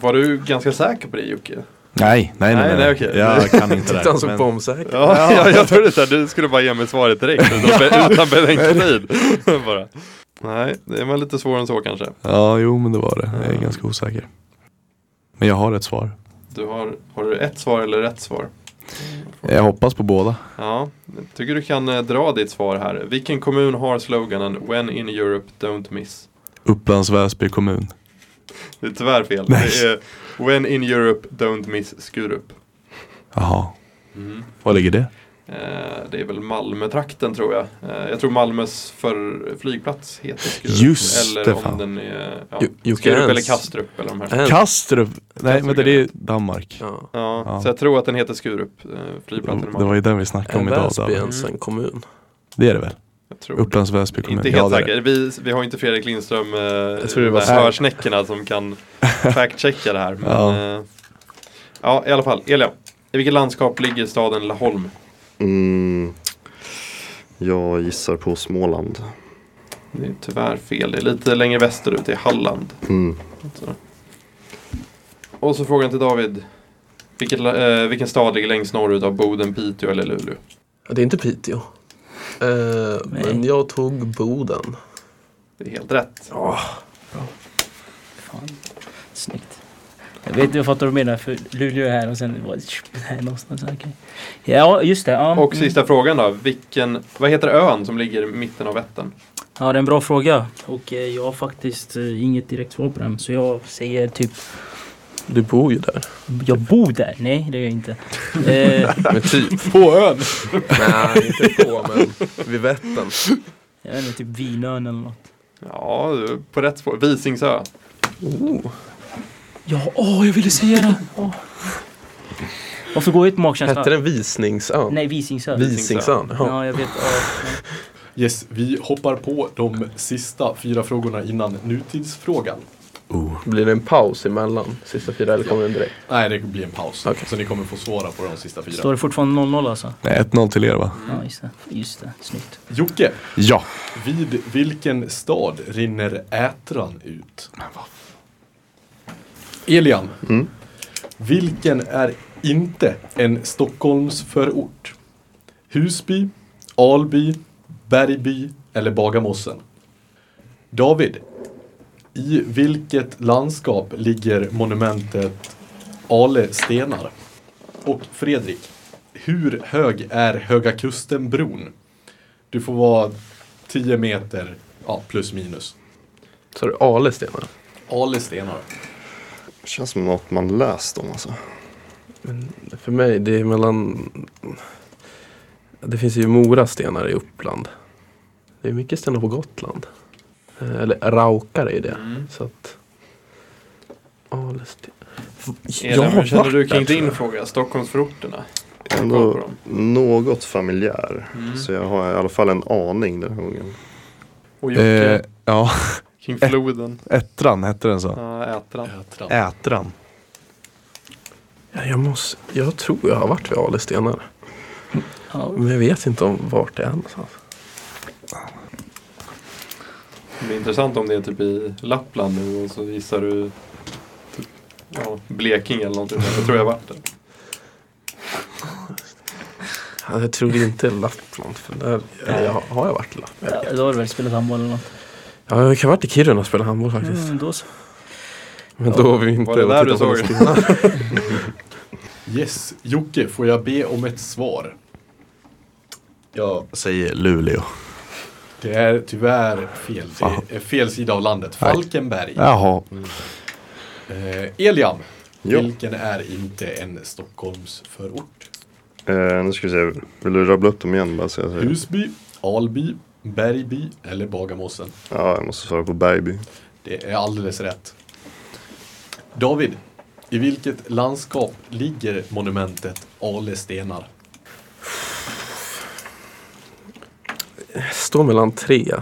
Speaker 3: Var du ganska säker på det Jocke?
Speaker 4: Nej, nej,
Speaker 3: Nej,
Speaker 4: nej.
Speaker 3: nej,
Speaker 4: nej,
Speaker 3: okej.
Speaker 4: Jag kan inte det.
Speaker 6: *laughs* Titta han
Speaker 4: här,
Speaker 6: såg
Speaker 4: men-
Speaker 6: bombsäker.
Speaker 3: Ja, jag, jag trodde så här, du skulle bara ge mig svaret direkt utan, be- utan
Speaker 4: *laughs*
Speaker 3: betänketid. bara. Nej, det var lite svårare än så kanske.
Speaker 4: Ja, jo men det var det. Jag är ganska osäker. Men jag har ett svar.
Speaker 3: Du har, har du ett svar eller rätt svar?
Speaker 4: Jag hoppas på båda.
Speaker 3: Ja, jag tycker du kan eh, dra ditt svar här. Vilken kommun har sloganen When in Europe don't miss?
Speaker 4: Upplands Väsby kommun.
Speaker 3: Det är tyvärr fel.
Speaker 4: Nej.
Speaker 3: Det är When in Europe don't miss Skurup.
Speaker 4: Jaha. Var ligger det?
Speaker 3: Eh, Det är väl Malmötrakten tror jag. Eh, Jag tror Malmös för flygplats heter Skurup.
Speaker 4: Just
Speaker 3: eller
Speaker 4: det,
Speaker 3: om
Speaker 4: fan.
Speaker 3: den är ja,
Speaker 6: Jo- Jocke
Speaker 3: Skurup
Speaker 6: Ens.
Speaker 3: eller Kastrup eller de här.
Speaker 6: En.
Speaker 4: Kastrup. Nej,
Speaker 3: Kastrup
Speaker 4: men det
Speaker 3: är
Speaker 4: är Danmark.
Speaker 6: Ja.
Speaker 3: Ja,
Speaker 4: Ja.
Speaker 3: Så jag tror att den heter Skurup, eh, flygplatsen i
Speaker 4: Det var
Speaker 3: Malmö.
Speaker 4: ju den vi snackade
Speaker 6: Är
Speaker 4: om idag.
Speaker 6: Äh, Väsby
Speaker 4: David.
Speaker 6: ens en kommun?
Speaker 4: Det är det väl?
Speaker 3: Jag tror det.
Speaker 4: Upplands Väsby kommun.
Speaker 3: Inte helt
Speaker 4: Ja, det är det.
Speaker 3: säker. Vi, vi har inte Fredrik Lindström, eh, jag
Speaker 6: tror det var så.
Speaker 3: hörsnäckorna som
Speaker 4: *laughs*
Speaker 3: kan fact-checka det här. Men,
Speaker 4: Ja.
Speaker 3: Eh, ja, i alla fall. Elia, i vilket landskap ligger staden Laholm?
Speaker 5: Mm, jag gissar på Småland.
Speaker 3: Det är tyvärr fel. Det är lite längre västerut, det är Halland.
Speaker 5: Mm.
Speaker 3: Så. Och så frågan till David. Vilket, la- eh, vilken stad ligger längst norrut av Boden, Piteå eller Luleå?
Speaker 6: Ja, det är inte Piteå. Eh,
Speaker 7: Nej.
Speaker 6: men jag tog Boden.
Speaker 3: Det är helt rätt.
Speaker 7: Fan. Snyggt. Jag vet jag fattar vad du menar för Luleå är här och sen var det här någonstans. okej. Ja, just det. Ja.
Speaker 3: Och sista frågan då. Vilken, vad heter ön som ligger i mitten av Vättern?
Speaker 7: Ja, det är en bra fråga. Och eh, jag har faktiskt eh, inget direkt svar på den. Så jag säger typ,
Speaker 6: Du bor ju där.
Speaker 7: jag bor där. Nej, det gör jag inte. Eh,
Speaker 6: Men typ.
Speaker 2: På ön!
Speaker 6: Nej, inte på men vid Vättern.
Speaker 7: jag vet inte, typ Vinön eller något.
Speaker 3: Ja, du är på rätt spår. Visingsö.
Speaker 7: Ja, åh, jag ville säga det! Åh. Varför går jag ut på magkänsla?
Speaker 6: Hette den Visningsön?
Speaker 7: Nej, Visingsö.
Speaker 6: Visingsön. Ja.
Speaker 7: Ja, jag vet. Ja, men-
Speaker 2: Yes, vi hoppar på de sista fyra frågorna innan nutidsfrågan.
Speaker 6: Blir det en paus emellan sista fyra eller kommer den direkt?
Speaker 2: Nej, det blir en paus.
Speaker 6: Okej.
Speaker 2: Så ni kommer få svara på de sista fyra.
Speaker 7: Står det fortfarande 0-0 alltså?
Speaker 4: Nej, 1-0 till er va?
Speaker 7: Ja, just det. Just det. Snyggt.
Speaker 2: Jocke,
Speaker 4: Ja.
Speaker 2: vid vilken stad rinner Ätran ut? Elian, vilken är inte en Stockholmsförort? Husby, Alby, Bergby eller Bagarmossen? David, i vilket landskap ligger monumentet Ale stenar? Och Fredrik, hur hög är Höga Kusten-bron? Du får vara 10 meter, ja, plus minus.
Speaker 6: Så är det Ale stenar.
Speaker 2: Ale stenar.
Speaker 5: Det känns som något man läst om alltså.
Speaker 6: För mig, det är mellan... Det finns ju Mora stenar i Uppland. Det är mycket stenar på Gotland. Eh, Eller Raukar är ju det. Så att... Ale stenar.
Speaker 3: Elin, hur känner du kring din fråga? Stockholmsförorterna? Har du koll på
Speaker 5: Ändå
Speaker 3: dem?
Speaker 5: något familjär.
Speaker 3: Mm.
Speaker 5: Så jag har i alla fall en aning den här gången.
Speaker 3: Och Jocke,
Speaker 4: Eh, ja,
Speaker 3: *laughs* kring floden,
Speaker 4: Ättran hette den så.
Speaker 3: ja, Ätran.
Speaker 2: Ätran.
Speaker 4: Ätran.
Speaker 6: Ja, jag, måste, jag tror jag har varit vid Ale stenar.
Speaker 7: Ja,
Speaker 6: Men jag vet inte om vart det är någonstans.
Speaker 3: Det är intressant om det är typ i Lappland nu och så gissar du typ, ja, Blekinge eller någonting. Jag tror jag har varit där.
Speaker 6: Ja, Jag tror inte Lappland. För där, eller, jag, har jag varit i Lappland?
Speaker 7: Ja, då har du väl spelat handboll eller något?
Speaker 6: Ja, jag kan ha varit i Kiruna och spelat handboll faktiskt.
Speaker 7: Mm, då så.
Speaker 6: Men då var vi inte
Speaker 3: Var det där
Speaker 6: och
Speaker 3: du
Speaker 6: tittade på
Speaker 3: såg
Speaker 6: Eskilstuna. *laughs*
Speaker 2: Yes, Jocke, får jag be om ett svar?
Speaker 4: Jag säger Luleå.
Speaker 2: Det är tyvärr fel.
Speaker 4: Fan.
Speaker 2: Det är fel sida av landet.
Speaker 4: Nej.
Speaker 2: Falkenberg.
Speaker 4: Jaha.
Speaker 2: Eh, Elian,
Speaker 5: Ja.
Speaker 2: vilken är inte en Stockholmsförort?
Speaker 5: Eh, nu ska vi se, vill du rabbla upp dem igen bara så jag säger?
Speaker 2: Husby, Alby, Bergby eller Bagarmossen?
Speaker 5: Ja, jag måste svara på Bergby.
Speaker 2: Det är alldeles rätt. David, i vilket landskap ligger monumentet Ale stenar?
Speaker 6: Står mellan tre.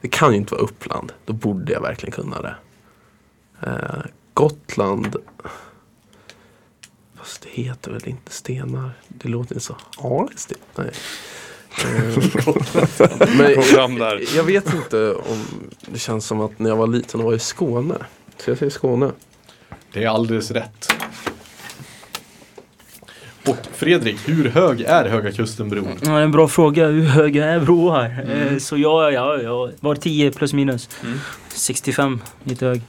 Speaker 6: Det kan ju inte vara Uppland. Då borde jag verkligen kunna det. Eh, Gotland. Fast det heter väl inte stenar? Det låter inte så. Alsten?
Speaker 3: *laughs*
Speaker 6: Nej. Eh, men
Speaker 3: Kom fram där.
Speaker 6: jag vet inte om det känns som att när jag var liten och var i Skåne. Så jag säger Skåne.
Speaker 2: Det är alldeles rätt. Och Fredrik, hur hög är Höga Kusten-bron?
Speaker 7: Ja, en bra fråga. Hur höga är broar? Eh, så jag, ja, jag var 10 plus minus.
Speaker 3: Mm.
Speaker 7: 65, lite hög.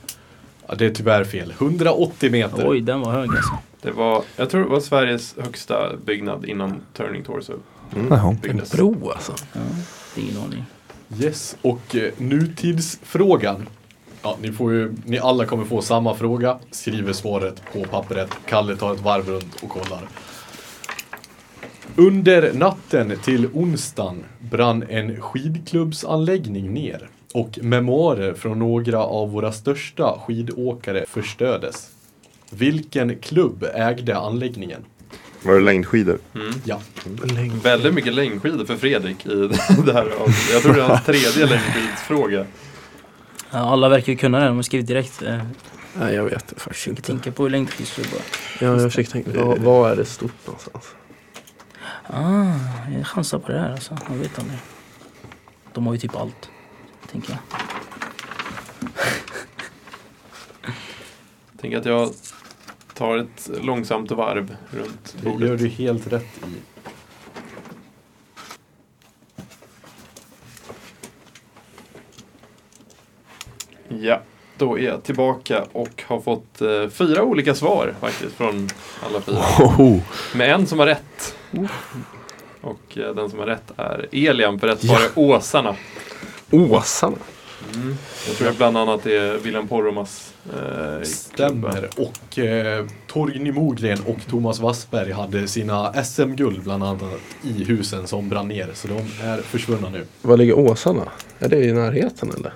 Speaker 2: Ja, det är tyvärr fel. 180 meter.
Speaker 7: Oj, den var hög alltså.
Speaker 3: Det var, jag tror det var Sveriges högsta byggnad innan Turning Torso
Speaker 4: Jaha.
Speaker 6: En
Speaker 3: byggdes.
Speaker 6: bro alltså.
Speaker 7: Det är ingen aning.
Speaker 2: Yes, och eh, nutidsfrågan. Ja, ni, får ju, ni alla kommer få samma fråga, skriver svaret på pappret. Kalle tar ett varv runt och kollar. Under natten till onsdagen brann en skidklubbsanläggning ner och memoarer från några av våra största skidåkare förstördes. Vilken klubb ägde anläggningen?
Speaker 5: Var det längdskidor?
Speaker 2: Ja,
Speaker 3: Väldigt mycket längdskidor för Fredrik i *laughs* det här avsnittet. Jag tror det är hans tredje längdskidsfråga.
Speaker 7: Ja, alla verkar ju kunna den. De har skrivit direkt. Eh,
Speaker 6: Nej jag vet faktiskt
Speaker 7: jag
Speaker 6: inte.
Speaker 7: tänker på längdskidklubbar.
Speaker 6: Ja, jag försökte tänka, vad, vad är det stort någonstans?
Speaker 7: Ah, jag chansar på det här alltså. Jag vet aldrig. De har ju typ allt, tänker jag.
Speaker 3: Tänk att jag tar ett långsamt varv runt
Speaker 2: det gör
Speaker 3: bordet.
Speaker 2: du helt rätt i.
Speaker 3: Ja, då är jag tillbaka och har fått eh, fyra olika svar faktiskt från alla fyra.
Speaker 4: Hoho.
Speaker 3: Med en som har rätt. Och eh, den som har rätt är Elian, för rätt svar är Åsarna.
Speaker 6: Åsarna.
Speaker 3: Jag tror bland annat är William Poromas eh, klubba.
Speaker 2: Stämmer. Och eh, Torgny Mogren och Thomas Wassberg hade sina SM-guld bland annat i husen som brann ner. Så de är försvunna nu.
Speaker 6: Var ligger Åsarna? Är det i närheten eller?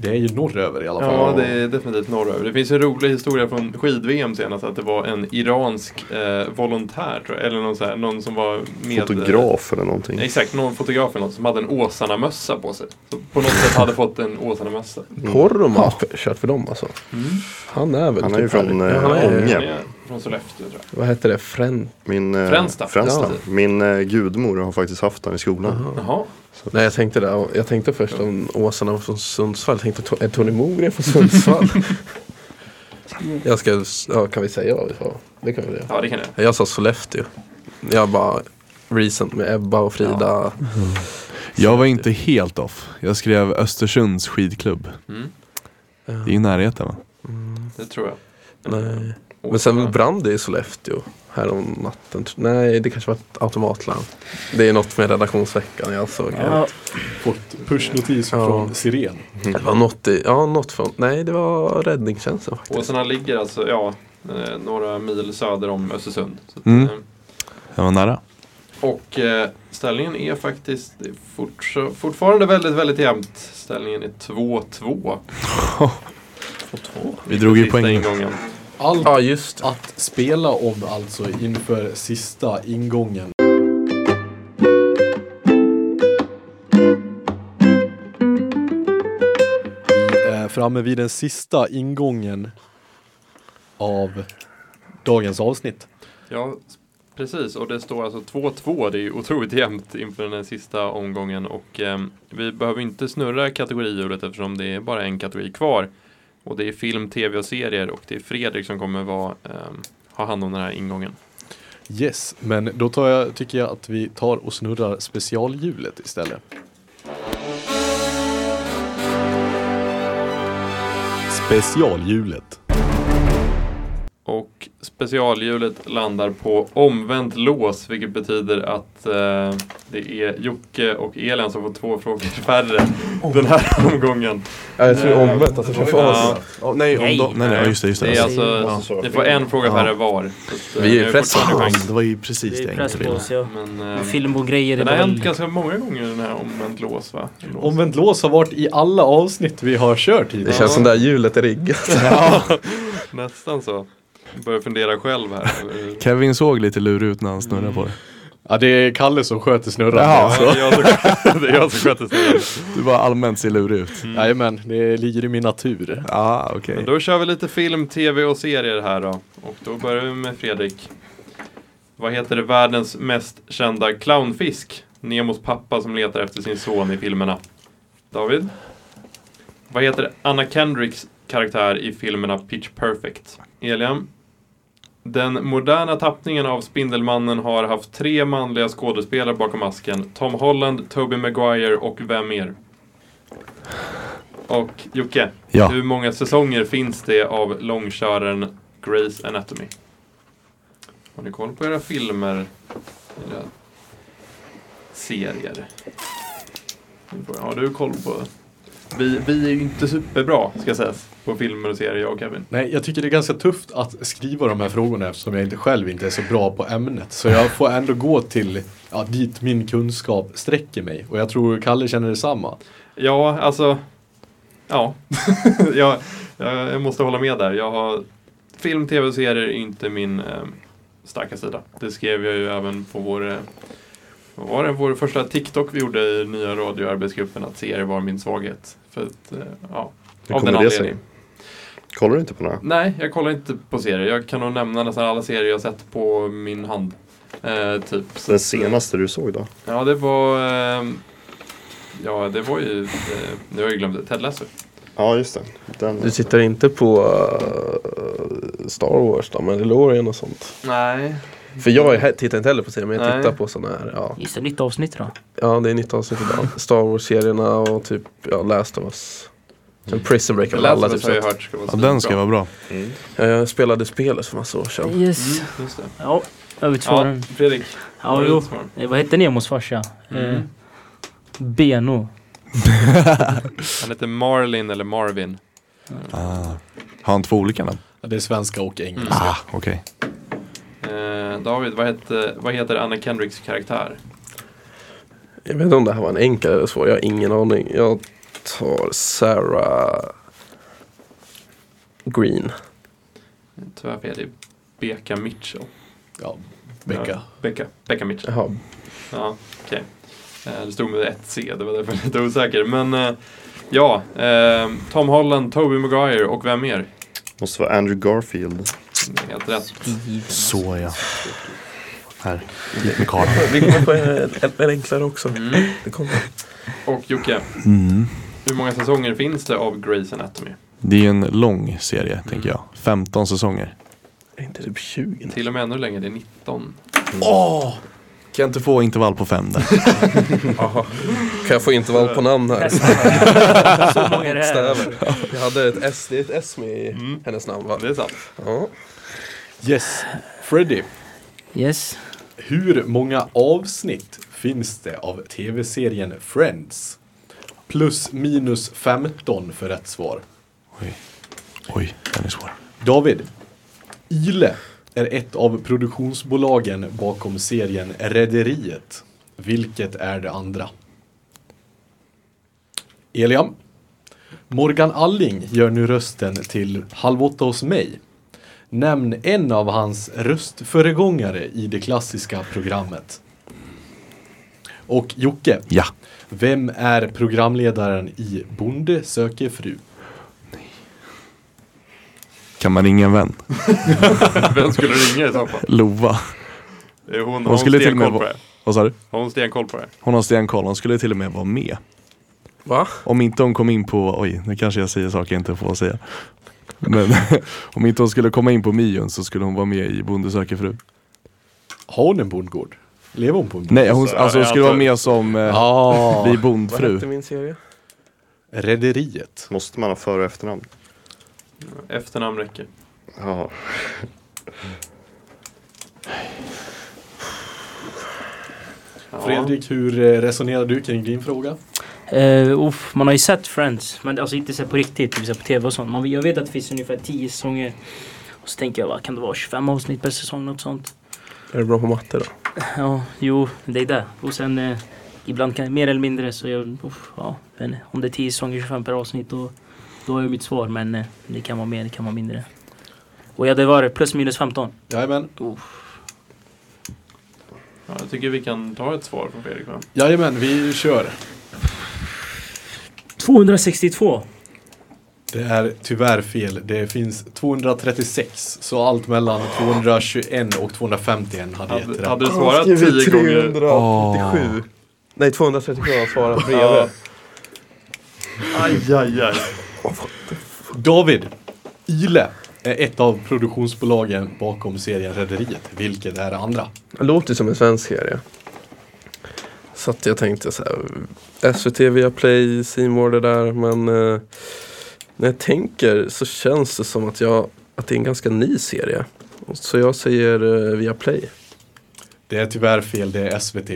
Speaker 2: Det är ju norröver i alla fall.
Speaker 3: Ja, det är definitivt norröver. Det finns en rolig historia från skid-VM senast att det var en iransk eh, volontär, tror jag, eller någon, så här, någon som var med. eh,
Speaker 5: Fotograf eller någonting?
Speaker 3: Exakt, någon fotograf eller något som hade en Åsarna-mössa på sig. Så på något sätt hade fått en Åsarna-mössa.
Speaker 6: Mm. Poromaa har f- kört för dem alltså. Han är väl
Speaker 5: Han är ju
Speaker 6: typ
Speaker 5: från,
Speaker 6: här- ja,
Speaker 5: eh,
Speaker 6: han är,
Speaker 5: Ånge.
Speaker 6: ju-
Speaker 3: Den är Från Sollefteå tror jag.
Speaker 6: Vad heter det? Frän...
Speaker 5: Min, eh,
Speaker 3: Fränsta.
Speaker 5: Fränsta.
Speaker 3: Ja.
Speaker 5: Min eh, gudmor har faktiskt haft den i skolan.
Speaker 3: Jaha.
Speaker 6: Nej jag tänkte det. Jag tänkte först om Åsarna var från Sundsvall. Jag tänkte to- är Tony Mogren från *laughs* Sundsvall? jag ska... Ja, kan vi säga vad vi sa? Det kan vi göra.
Speaker 3: Ja, det kan jag.
Speaker 6: Jag sa Sollefteå. Jag bara... Recent med Ebba och Frida.
Speaker 4: Jag var inte helt off. Jag skrev Östersunds skidklubb.
Speaker 3: Mm,
Speaker 4: Det är ju i närheten va?
Speaker 3: det tror jag.
Speaker 6: Nej. Men sen brann det i Sollefteå härom natten. Nej, det kanske var ett automatlarm. Det är något med redaktionsveckan jag såg.
Speaker 7: Ja,
Speaker 2: Fått pushnotis
Speaker 6: Ja.
Speaker 2: från Siren.
Speaker 6: Det var något, i, ja, något från, nej det var räddningstjänsten faktiskt.
Speaker 3: Åsarna ligger alltså, ja, eh, några mil söder om Östersund. Så att,
Speaker 4: Mm.
Speaker 3: eh,
Speaker 4: Jag var nära.
Speaker 3: Och eh, ställningen är faktiskt det är fort, fortfarande väldigt, väldigt jämnt. Ställningen är 2-2.
Speaker 4: Vi drog ju
Speaker 3: Sista
Speaker 4: poäng.
Speaker 3: ingången.
Speaker 2: Allt
Speaker 6: Ja, just det.
Speaker 2: att spela om alltså inför sista ingången. Vi är framme vid den sista ingången av dagens avsnitt.
Speaker 3: Ja, s- precis. Och det står alltså 2-2. Det är ju otroligt jämnt inför den här sista omgången. Och eh, vi behöver inte snurra kategorihjulet eftersom det är bara en kategori kvar. Och det är film, tv och serier. Och det är Fredrik som kommer vara, eh, ha hand om den här ingången.
Speaker 2: Yes, men då tar jag, tycker jag att vi tar och snurrar specialhjulet istället. Specialhjulet.
Speaker 3: Och specialhjulet landar på omvänt lås, vilket betyder att eh, det är Jocke och Elin som får två frågor färre den här *laughs* omgången.
Speaker 6: Ja, jag tror
Speaker 3: Nej.
Speaker 6: omvänt att det får
Speaker 3: Ja.
Speaker 6: oss.
Speaker 4: Oh, nej,
Speaker 7: Nej.
Speaker 4: om de, nej, nej, ja, just det, just
Speaker 3: Det
Speaker 4: det.
Speaker 3: är alltså, ni får en fråga färre var. Så att, eh,
Speaker 6: Vi är ju
Speaker 3: ni har
Speaker 6: press-
Speaker 3: fortfarande
Speaker 4: Fan,
Speaker 3: chans.
Speaker 4: det var ju precis det
Speaker 7: det är
Speaker 4: jag
Speaker 7: press
Speaker 4: inte
Speaker 7: på
Speaker 4: ville.
Speaker 7: oss ja.
Speaker 3: Men,
Speaker 7: Med
Speaker 3: eh,
Speaker 7: Film och grejer.
Speaker 3: den
Speaker 7: det
Speaker 3: har
Speaker 7: Mm. är väl-
Speaker 3: hänt ganska många gånger den här omvänt lås va? Lås.
Speaker 2: Omvänt lås har varit i alla avsnitt vi har kört
Speaker 6: Det
Speaker 2: hittills.
Speaker 6: känns som det här hjulet är riggat.
Speaker 2: *laughs* Ja.
Speaker 3: *laughs* Nästan så. Jag börjar fundera själv
Speaker 4: *laughs*
Speaker 3: här.
Speaker 4: Kevin såg lite lurig ut när han snurrade på det.
Speaker 2: Ja, det är Kalle som sköter snurran.
Speaker 4: Jaha.
Speaker 3: Ja, det är jag som- det är jag som sköter snurran.
Speaker 4: Du bara allmänt ser lurig ut.
Speaker 7: Mm.
Speaker 2: Jajamän, det ligger i min natur.
Speaker 4: Ja, okej.
Speaker 3: Men då kör vi lite film, tv och serier här då. Och då börjar vi med Fredrik. Vad heter världens mest kända clownfisk? Nemos pappa som letar efter sin son i filmerna. David? Vad heter Anna Kendricks karaktär i filmerna Pitch Perfect? Elian? Den moderna tappningen av Spindelmannen har haft tre manliga skådespelare bakom masken. Tom Holland, Tobey Maguire och vem mer? Och Jocke?
Speaker 4: Ja.
Speaker 3: Hur många säsonger finns det av långköraren Grey's Anatomy? Har ni koll på era filmer? Era serier? Har du koll på? Vi, vi är ju inte superbra, ska sägas, på filmer och serier, jag och Kevin.
Speaker 2: Nej, jag tycker det är ganska tufft att skriva de här frågorna eftersom jag inte själv inte är så bra på ämnet. Så jag får ändå gå till ja, dit min kunskap sträcker mig. Och jag tror Kalle känner detsamma.
Speaker 3: Ja, alltså... Ja. *laughs* jag, jag, jag måste hålla med där. Jag har, film, tv och serier är inte min eh, starka sida. Det skrev jag ju även på vår, eh, vad var det, vår första TikTok vi gjorde i nya radioarbetsgruppen, att serier var min svaghet. För att, eh, ja,
Speaker 5: Hur
Speaker 3: av den
Speaker 5: kommer det sig?
Speaker 3: anledningen.
Speaker 5: Kollar du inte på några?
Speaker 3: Nej, jag kollar inte på serier. Jag kan nog nämna nästan alla serier jag sett på min hand. Eh, typ. Så
Speaker 5: Den
Speaker 3: att, eh,
Speaker 5: senaste du såg då?
Speaker 3: Ja, det var... ehm, Ja, det var ju... eh, Nu har jag ju glömt det. Ted Lasso.
Speaker 5: Ja, just det. Den,
Speaker 6: Du tittar inte på eh, Star Wars då, Mandalorian och sånt?
Speaker 3: Nej.
Speaker 6: För jag he- tittar inte heller på serier, men jag
Speaker 3: Nej.
Speaker 6: tittar på sådana här, ja.
Speaker 7: Gissa nytt avsnitt då.
Speaker 6: Ja, det är nytt avsnitt idag. Star Wars-serierna och typ, ja, Last of Us. Sen Prison Break har väl alla typ
Speaker 3: har jag
Speaker 6: sett.
Speaker 3: hört ska vara
Speaker 4: Ja, den ska
Speaker 3: svinbra.
Speaker 4: vara bra.
Speaker 6: Ja, Jag spelade spelet för massa år sedan.
Speaker 7: Yes.
Speaker 3: Mm, just det.
Speaker 7: Ja, över till
Speaker 3: Ja,
Speaker 7: svaren.
Speaker 3: Fredrik.
Speaker 7: Ja,
Speaker 3: har du
Speaker 7: jo.
Speaker 3: ett svar?
Speaker 7: Eh, Vad hette Nemos farsa?
Speaker 3: Mm.
Speaker 7: Eh, Beno.
Speaker 3: Han heter Marlin eller Marvin.
Speaker 4: Ah. Har han två olika namn?
Speaker 2: Det är svenska och engelska.
Speaker 4: Ah, okej.
Speaker 3: Eh, David, vad heter, vad heter Anna Kendricks karaktär?
Speaker 6: Jag vet inte om det här var en enkel eller svår, jag har ingen aning. Jag tar Sarah Green.
Speaker 3: Tyvärr fel. Det är Becka Mitchell.
Speaker 2: Ja, Becka.
Speaker 3: Ja, Becka, Becka Mitchell.
Speaker 6: Jaha,
Speaker 3: Ja, okej. Eh, det stod med ett C, det var därför jag var lite osäker. Men eh, ja, eh, Tom Holland, Tobey Maguire och vem mer?
Speaker 5: måste vara Andrew Garfield.
Speaker 3: Det är Helt rätt.
Speaker 4: Så ja. Här, med kartan.
Speaker 6: vi kommer på en, en, en enklare också.
Speaker 3: Mm.
Speaker 6: Det kommer.
Speaker 3: Och Jocke,
Speaker 4: Mm.
Speaker 3: hur många säsonger finns det av Grey's Anatomy?
Speaker 4: Det är ju en lång serie, tänker jag. 15 säsonger.
Speaker 6: Är inte typ 20? nu?
Speaker 3: Till och med ännu längre, det är 19.
Speaker 4: Mm. Kan jag inte få intervall på fem där?
Speaker 6: Kan jag få intervall på
Speaker 3: *laughs*
Speaker 6: namn här?
Speaker 7: *laughs* Så många är det här.
Speaker 6: Stäver. Jag hade ett S, det är ett S med i
Speaker 3: Mm.
Speaker 6: hennes namn va?
Speaker 3: Det är sant.
Speaker 6: Ja.
Speaker 2: *laughs* Yes, Freddy.
Speaker 7: Yes.
Speaker 2: Hur många avsnitt finns det av tv-serien Friends? Plus minus 15 för rätt svar.
Speaker 4: Oj. Oj, den är svår.
Speaker 2: David. Ile är ett av produktionsbolagen bakom serien Rederiet. Vilket är det andra? Eliam. Morgan Alling gör nu rösten till Halv åtta hos mig. Nämn en av hans röstföregångare i det klassiska programmet. Och Jocke,
Speaker 4: Ja.
Speaker 2: vem är programledaren i Bonde söker fru?
Speaker 4: Kan man ringa en vän?
Speaker 3: Vem skulle ringa i så fall?
Speaker 4: Lova.
Speaker 3: Eh, Hon, har
Speaker 4: Hon
Speaker 3: hon
Speaker 4: skulle till och med
Speaker 3: stenkoll på
Speaker 4: vara...
Speaker 3: det.
Speaker 4: Vad sa du?
Speaker 3: Har hon stenkoll på det?
Speaker 4: Hon har stenkoll. Hon skulle till och med vara med.
Speaker 6: Va?
Speaker 4: Om inte hon kom in på, oj nu kanske jag säger saker jag inte får säga. Men *laughs* om inte hon skulle komma in på Mion så skulle hon vara med i Bonde söker fru.
Speaker 2: Har hon en bondgård? Lever hon på en bondgård?
Speaker 4: Nej, hon,
Speaker 3: Så,
Speaker 4: alltså, hon
Speaker 3: jag
Speaker 4: skulle
Speaker 3: antar-
Speaker 4: vara med som eh,
Speaker 2: Ah,
Speaker 4: Vi
Speaker 6: Vad
Speaker 4: bondfru.
Speaker 6: hette min serie?
Speaker 2: Rederiet.
Speaker 5: Måste man ha före och efternamn?
Speaker 3: Efternamn räcker.
Speaker 5: Ja.
Speaker 3: Ja.
Speaker 2: Fredrik, hur eh, resonerar du kring din fråga?
Speaker 7: Eh, uff, man har ju sett Friends, men alltså inte sett på riktigt, typ så här på tv och sånt. Man, jag vet att det finns ungefär 10 säsonger. Och så tänker jag, vad kan det vara, 25 avsnitt per säsong, något sånt.
Speaker 6: Är du bra på matte då?
Speaker 7: Ja, jo, det är det. Och sen eh, ibland kan mer eller mindre så jag, uff, ja, men om det är 10 säsonger, 25 per avsnitt, då, då har jag mitt svar. Men eh, det kan vara mer, det kan vara mindre. Och jag hade varit plus minus 15.
Speaker 2: Jajamän.
Speaker 3: Ja, jag tycker vi kan ta ett svar från Fredrik. va?
Speaker 2: Jajamän, vi kör.
Speaker 7: 262.
Speaker 2: Det är tyvärr fel. Det finns 236, så allt mellan 221 och 251 hade gett
Speaker 3: Hade,
Speaker 2: rätt.
Speaker 3: hade du svarat 10 gånger?
Speaker 4: Åh.
Speaker 6: Nej, 237 har svarat
Speaker 3: Ja.
Speaker 6: bredvid.
Speaker 3: Aj, aj, aj.
Speaker 2: David, Ile är ett av produktionsbolagen bakom serien Rederiet, vilket är det andra.
Speaker 6: Det låter som en svensk serie. Så att jag tänkte så här, SVT via Play, More det där, men eh, när jag tänker så känns det som att, jag, att det är en ganska ny serie. Så jag säger eh, via Play.
Speaker 2: Det är tyvärr fel, det är SVT.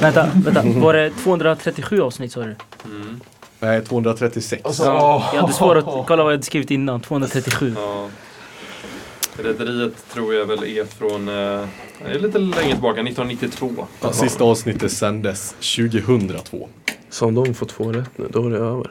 Speaker 7: Vänta, vänta. Var det 237 avsnitt sa du?
Speaker 3: Mm.
Speaker 2: Nej, 236.
Speaker 7: Ja, jag hade svarat, kolla vad jag hade skrivit innan, 237.
Speaker 3: Ja. Rederiet tror jag väl är från, eh, det är lite längre tillbaka, 1992.
Speaker 2: Ja, Sista avsnittet sändes 2002.
Speaker 6: Så om de får två rätt nu, då är det över.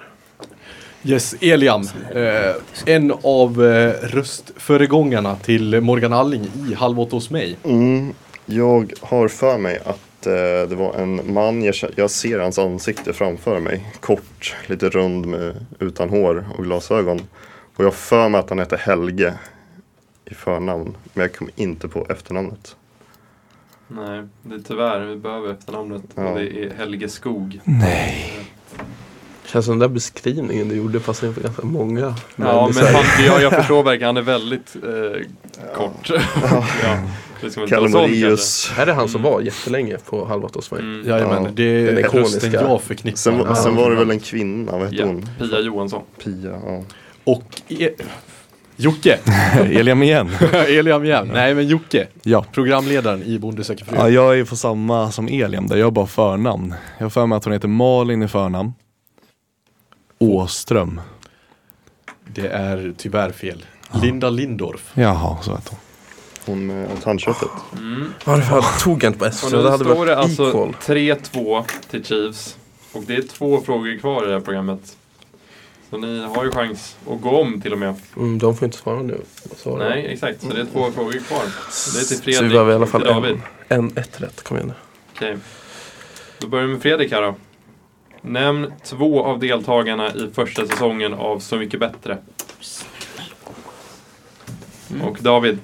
Speaker 2: Yes, Eliam. Eh, en av eh, röstföregångarna till Morgan Alling i Halv åt hos mig.
Speaker 5: Mm, jag har för mig att eh, det var en man, jag, kä- jag ser hans ansikte framför mig. Kort, lite rund, med, utan hår och glasögon. Och jag har för mig att han heter Helge i förnamn. Men jag kommer inte på efternamnet.
Speaker 3: Nej, det är tyvärr, vi behöver efternamnet.
Speaker 5: Ja.
Speaker 3: Och det är Helge Skog.
Speaker 4: Mm.
Speaker 6: Känns som den där beskrivningen du gjorde fast för ganska många.
Speaker 3: Ja, men
Speaker 6: så här-
Speaker 3: han, ja, jag förstår verkligen, han är väldigt eh, kort. *laughs* ja. Det ska man inte
Speaker 5: Kalle
Speaker 3: vara sån, kanske.
Speaker 5: Moraeus.
Speaker 6: Är det han som var jättelänge på Halv åtta hos mig?
Speaker 3: Mm.
Speaker 2: Jajamän,
Speaker 5: Ja,
Speaker 2: det är
Speaker 6: den ikoniska.
Speaker 2: rösten jag förknippar
Speaker 5: Sen,
Speaker 2: med
Speaker 5: va-
Speaker 2: honom.
Speaker 5: sen var det väl en kvinna, vad hette
Speaker 3: Ja,
Speaker 5: hon?
Speaker 3: Pia Johansson.
Speaker 5: Pia, ja.
Speaker 2: Och e- Jocke,
Speaker 4: *laughs* Eliam igen.
Speaker 2: *laughs* Eliam igen. Nej men Jocke,
Speaker 4: Ja.
Speaker 2: programledaren i Bonde söker fru.
Speaker 4: ja, jag är på samma som Eliam där, jag har bara förnamn. Jag har för mig att hon heter Malin i förnamn. Åström.
Speaker 2: Det är tyvärr fel. Linda Lindorff.
Speaker 4: Jaha, så heter hon.
Speaker 5: Hon med tandköttet.
Speaker 6: Varför tog jag inte på
Speaker 3: Och
Speaker 6: SVT?
Speaker 3: nu
Speaker 6: Det hade
Speaker 3: står
Speaker 6: varit
Speaker 3: det alltså
Speaker 6: equal.
Speaker 3: 3-2 till Chiefs. Och det är två frågor kvar i det här programmet. Så ni har ju chans att gå om till och med.
Speaker 6: Mm, de får inte svara nu. Svara.
Speaker 3: Nej, exakt. Så det är två frågor kvar. Det är till
Speaker 6: Så vi
Speaker 3: Fredrik
Speaker 6: behöver i alla
Speaker 3: och till
Speaker 6: fall en,
Speaker 3: David.
Speaker 6: en ett rätt. Kom igen nu.
Speaker 3: Okej. Då börjar vi med Fredrik här då. Nämn två av deltagarna i första säsongen av Så mycket bättre. Och David,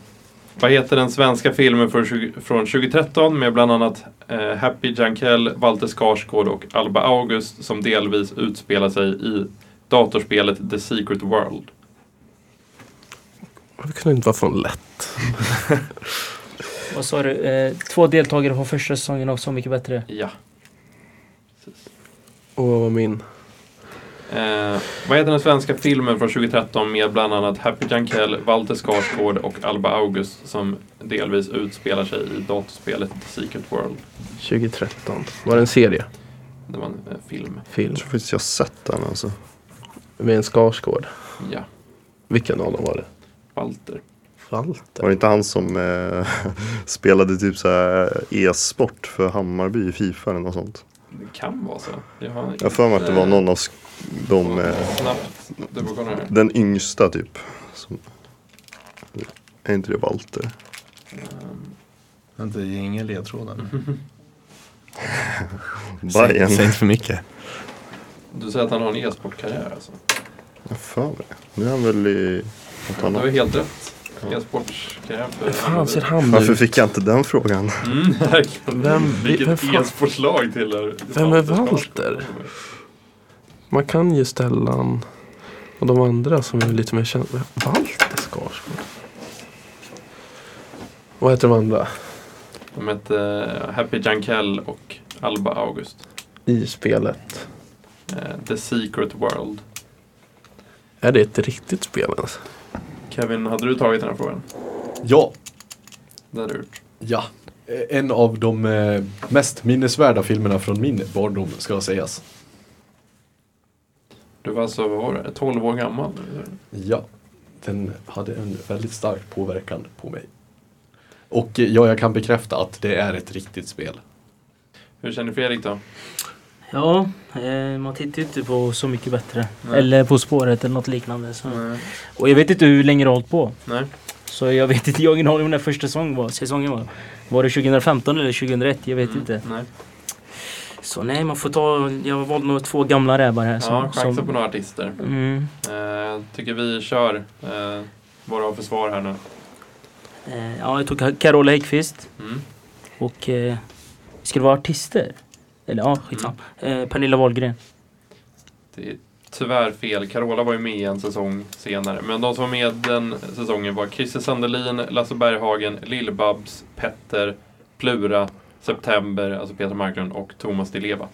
Speaker 3: vad heter den svenska filmen från, 20, från 2013 med bland annat eh, Happy Jankell, Walter Skarsgård och Alba August som delvis utspelar sig i datorspelet The Secret World?
Speaker 6: Det kunde inte vara för lätt.
Speaker 7: Vad sa du? Eh, två deltagare på första säsongen av Så mycket bättre.
Speaker 3: Ja.
Speaker 6: Och vad var min?
Speaker 3: Eh, vad heter den svenska filmen från 2013 med bland annat Happy Jankell, Walter Skarsgård och Alba August som delvis utspelar sig i datorspelet Secret World?
Speaker 6: 2013. Var det en serie?
Speaker 3: Det var en eh, film.
Speaker 6: Film?
Speaker 5: Jag tror faktiskt jag har sett den alltså.
Speaker 6: Med en Skarsgård?
Speaker 3: Ja,
Speaker 6: Vilken av dem var det?
Speaker 3: Walter.
Speaker 5: Var
Speaker 6: Walter?
Speaker 5: det inte han som eh, *laughs* spelade typ så här e-sport för Hammarby i Fifa eller något sånt?
Speaker 3: Det kan vara så. Jag har
Speaker 5: Jag har för mig att det var någon av sk- de, eh,
Speaker 3: Snabbt dubbelkollar här.
Speaker 5: den yngsta typ. Som, är inte det Walter?
Speaker 1: Vänta, ge ingen
Speaker 4: *laughs*
Speaker 1: ledtråden.
Speaker 5: Bayern.
Speaker 4: Säg inte för mycket.
Speaker 3: Du säger att han har en e-sportkarriär alltså?
Speaker 5: Jag har för mig det. Nu är han väl i något
Speaker 3: Du har ju
Speaker 5: annat.
Speaker 3: helt rätt. E-sportkarriär för
Speaker 6: Hur fan ser
Speaker 3: Hammarby.
Speaker 6: han
Speaker 5: Varför
Speaker 6: ut?
Speaker 5: fick jag inte den frågan?
Speaker 3: Mm, verkligen.
Speaker 6: Vem- vem
Speaker 3: Vilket
Speaker 6: fan-
Speaker 3: e-sportslag tillhör
Speaker 6: Vem är Walter? Man kan ju Stellan och de andra som är lite mer kända. Walter Skarsgård? Vad heter de andra?
Speaker 3: De hette eh, Happy Jankell och Alba August.
Speaker 6: I spelet.
Speaker 3: Eh, The Secret World.
Speaker 6: Är det ett riktigt spel ens?
Speaker 3: Kevin, hade du tagit den här frågan?
Speaker 2: Ja,
Speaker 3: Det hade du gjort.
Speaker 2: ja. Eh, En av de eh, mest minnesvärda filmerna från min barndom ska sägas.
Speaker 3: Du var alltså, vad var det, 12 år gammal?
Speaker 2: Ja, den hade en väldigt stark påverkan på mig. Och eh, ja, jag kan bekräfta att det är ett riktigt spel.
Speaker 3: Hur känner Fredrik då?
Speaker 7: Ja, eh, man tittar ju inte på Så mycket bättre. Mm.
Speaker 3: Nej.
Speaker 7: Eller På spåret eller något liknande. Så.
Speaker 3: Nej.
Speaker 7: Och jag vet inte hur länge det har hållit på.
Speaker 3: Nej.
Speaker 7: Så jag vet inte, jag har ingen aning om när första säsongen var. Säsongen var. var det 2015 eller 2001? Jag vet inte.
Speaker 3: Mm, Nej.
Speaker 7: Så nej, man får ta... Jag valde nog två gamla rävar här. Som,
Speaker 3: Ja, chansa
Speaker 7: Alltså, som,
Speaker 3: på några artister.
Speaker 7: mm,
Speaker 3: Eh, Jag tycker vi kör eh, vad du har för svar här nu.
Speaker 7: eh, ja, jag tog Carola Häggkvist
Speaker 3: Mm.
Speaker 7: och... Eh, ska det vara artister? Eller ja, skitsamma.
Speaker 3: Mm.
Speaker 7: Eh, Pernilla Wahlgren.
Speaker 3: Det är tyvärr fel. Carola var ju med en säsong senare. Men de som var med den säsongen var Christer Sandelin, Lasse Berghagen, Lill-Babs, Petter, Plura, September, alltså Peter Marklund och Thomas Di Leva.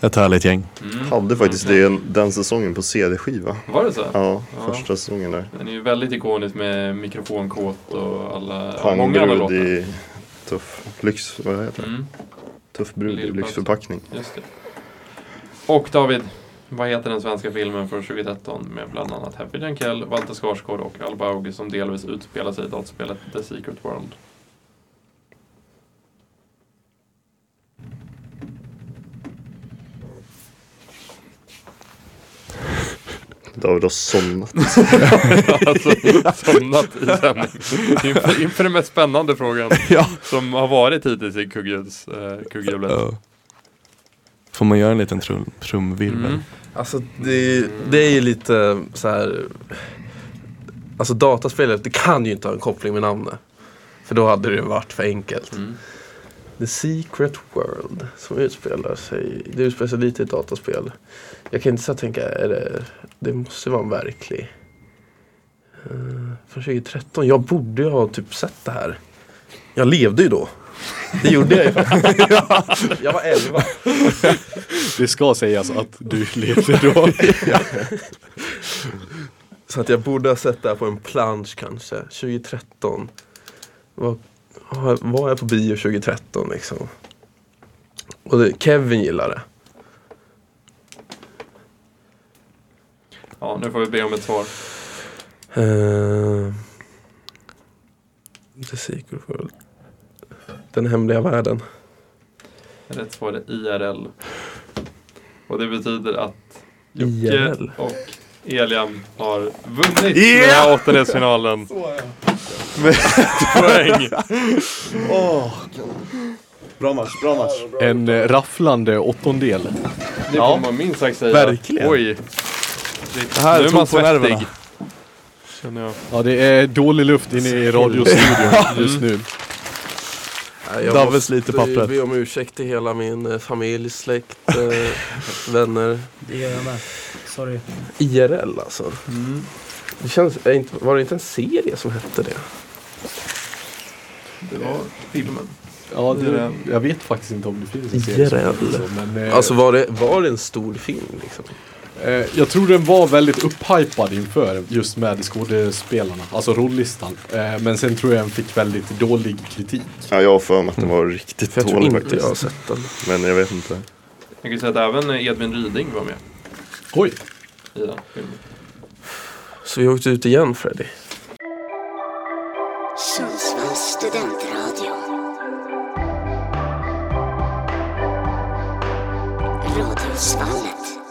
Speaker 4: Ett härligt gäng.
Speaker 3: Mm.
Speaker 5: Hade faktiskt
Speaker 3: Mm.
Speaker 5: det, den säsongen på CD-skiva.
Speaker 3: Var det så?
Speaker 5: Ja,
Speaker 3: Ja.
Speaker 5: första säsongen där.
Speaker 3: Den är ju väldigt ikonisk med mikrofonkåt och alla... ja,
Speaker 5: Pang,
Speaker 3: många andra
Speaker 5: brud
Speaker 3: låtar.
Speaker 5: i tuff, lyx, vad heter det?
Speaker 3: Mm,
Speaker 5: Tuff brud i
Speaker 3: Lill-Babs.
Speaker 5: lyxförpackning.
Speaker 3: just det. Och David, vad heter den svenska filmen från 2013 med bland annat Happy Jankell, Walter Skarsgård och Alba Auge som delvis utspelar sig i dataspelet The Secret World?
Speaker 5: David har somnat.
Speaker 3: *laughs* alltså, somnat i sändning. *laughs* Inför, inför den mest spännande *laughs* frågan
Speaker 4: Ja.
Speaker 3: som har varit hittills i kugghjuls, eh, kugghjulet.
Speaker 4: Ja. Får man göra en liten trum, trumvirvel?
Speaker 3: Mm.
Speaker 6: Alltså det är, ju- det är ju lite så här. Alltså dataspelet, det kan ju inte ha en koppling med namnet. För då hade det ju varit för enkelt.
Speaker 3: Mm.
Speaker 6: The Secret World som utspelar sig, det utspelar sig lite i ett dataspel. Jag kan inte så här tänka, är det, det måste vara en verklig. Uh, från 2013, jag borde ju ha typ sett det här. Jag levde ju då. Det gjorde jag ju *laughs* faktiskt. Jag var 11.
Speaker 2: Det ska sägas att du levde då.
Speaker 6: Så att jag borde ha sett det här på en plansch kanske, 2013. Var, har- var jag på bio 2013 liksom? Och det, Kevin gillar det.
Speaker 3: Ja, nu får vi be om ett svar.
Speaker 6: Uh, The Secret World. Den hemliga världen.
Speaker 3: Rätt svar är IRL. Och det betyder att Jocke
Speaker 6: IRL.
Speaker 3: och Elian har vunnit
Speaker 4: Yeah!
Speaker 3: den här åttondelsfinalen. Med ett poäng.
Speaker 2: Bra match, bra match. En eh, rafflande åttondel.
Speaker 3: Det får man minst sagt säga.
Speaker 4: Verkligen.
Speaker 3: Oj. Det,
Speaker 4: här
Speaker 3: nu är
Speaker 4: tog
Speaker 3: man
Speaker 4: på nerverna.
Speaker 3: svettig. Känner jag.
Speaker 2: Ja, det är dålig luft inne i radiostudion just nu.
Speaker 6: Nej, jag
Speaker 4: Davve
Speaker 6: måste
Speaker 4: sliter pappret.
Speaker 6: be om ursäkt till hela min eh, familj, släkt, *laughs* eh, vänner.
Speaker 7: Det gör jag med. Sorry.
Speaker 6: IRL alltså. Det känns, är inte, var det inte en serie som hette det?
Speaker 3: Det var filmen.
Speaker 2: Ja, det, jag vet faktiskt inte om det finns en serie som
Speaker 6: IRL.
Speaker 2: heter så, men, eh,
Speaker 6: Alltså var det, var det en stor film liksom?
Speaker 2: eh, jag tror den var väldigt upphypad inför just med skådespelarna, alltså rollistan. Eh, men sen tror jag den fick väldigt dålig kritik.
Speaker 5: Ja, jag har för mig att den var riktigt
Speaker 6: Mm. För jag tror
Speaker 5: dålig
Speaker 6: inte jag har
Speaker 5: faktiskt.
Speaker 6: sett den.
Speaker 5: Men jag vet inte.
Speaker 3: Jag kan ju säga att även Edvin Ryding var med
Speaker 2: Oj,
Speaker 3: i den filmen.
Speaker 6: Så vi åkte ut igen Freddy.
Speaker 1: Sundsvalls studentradio. Radiosvallet.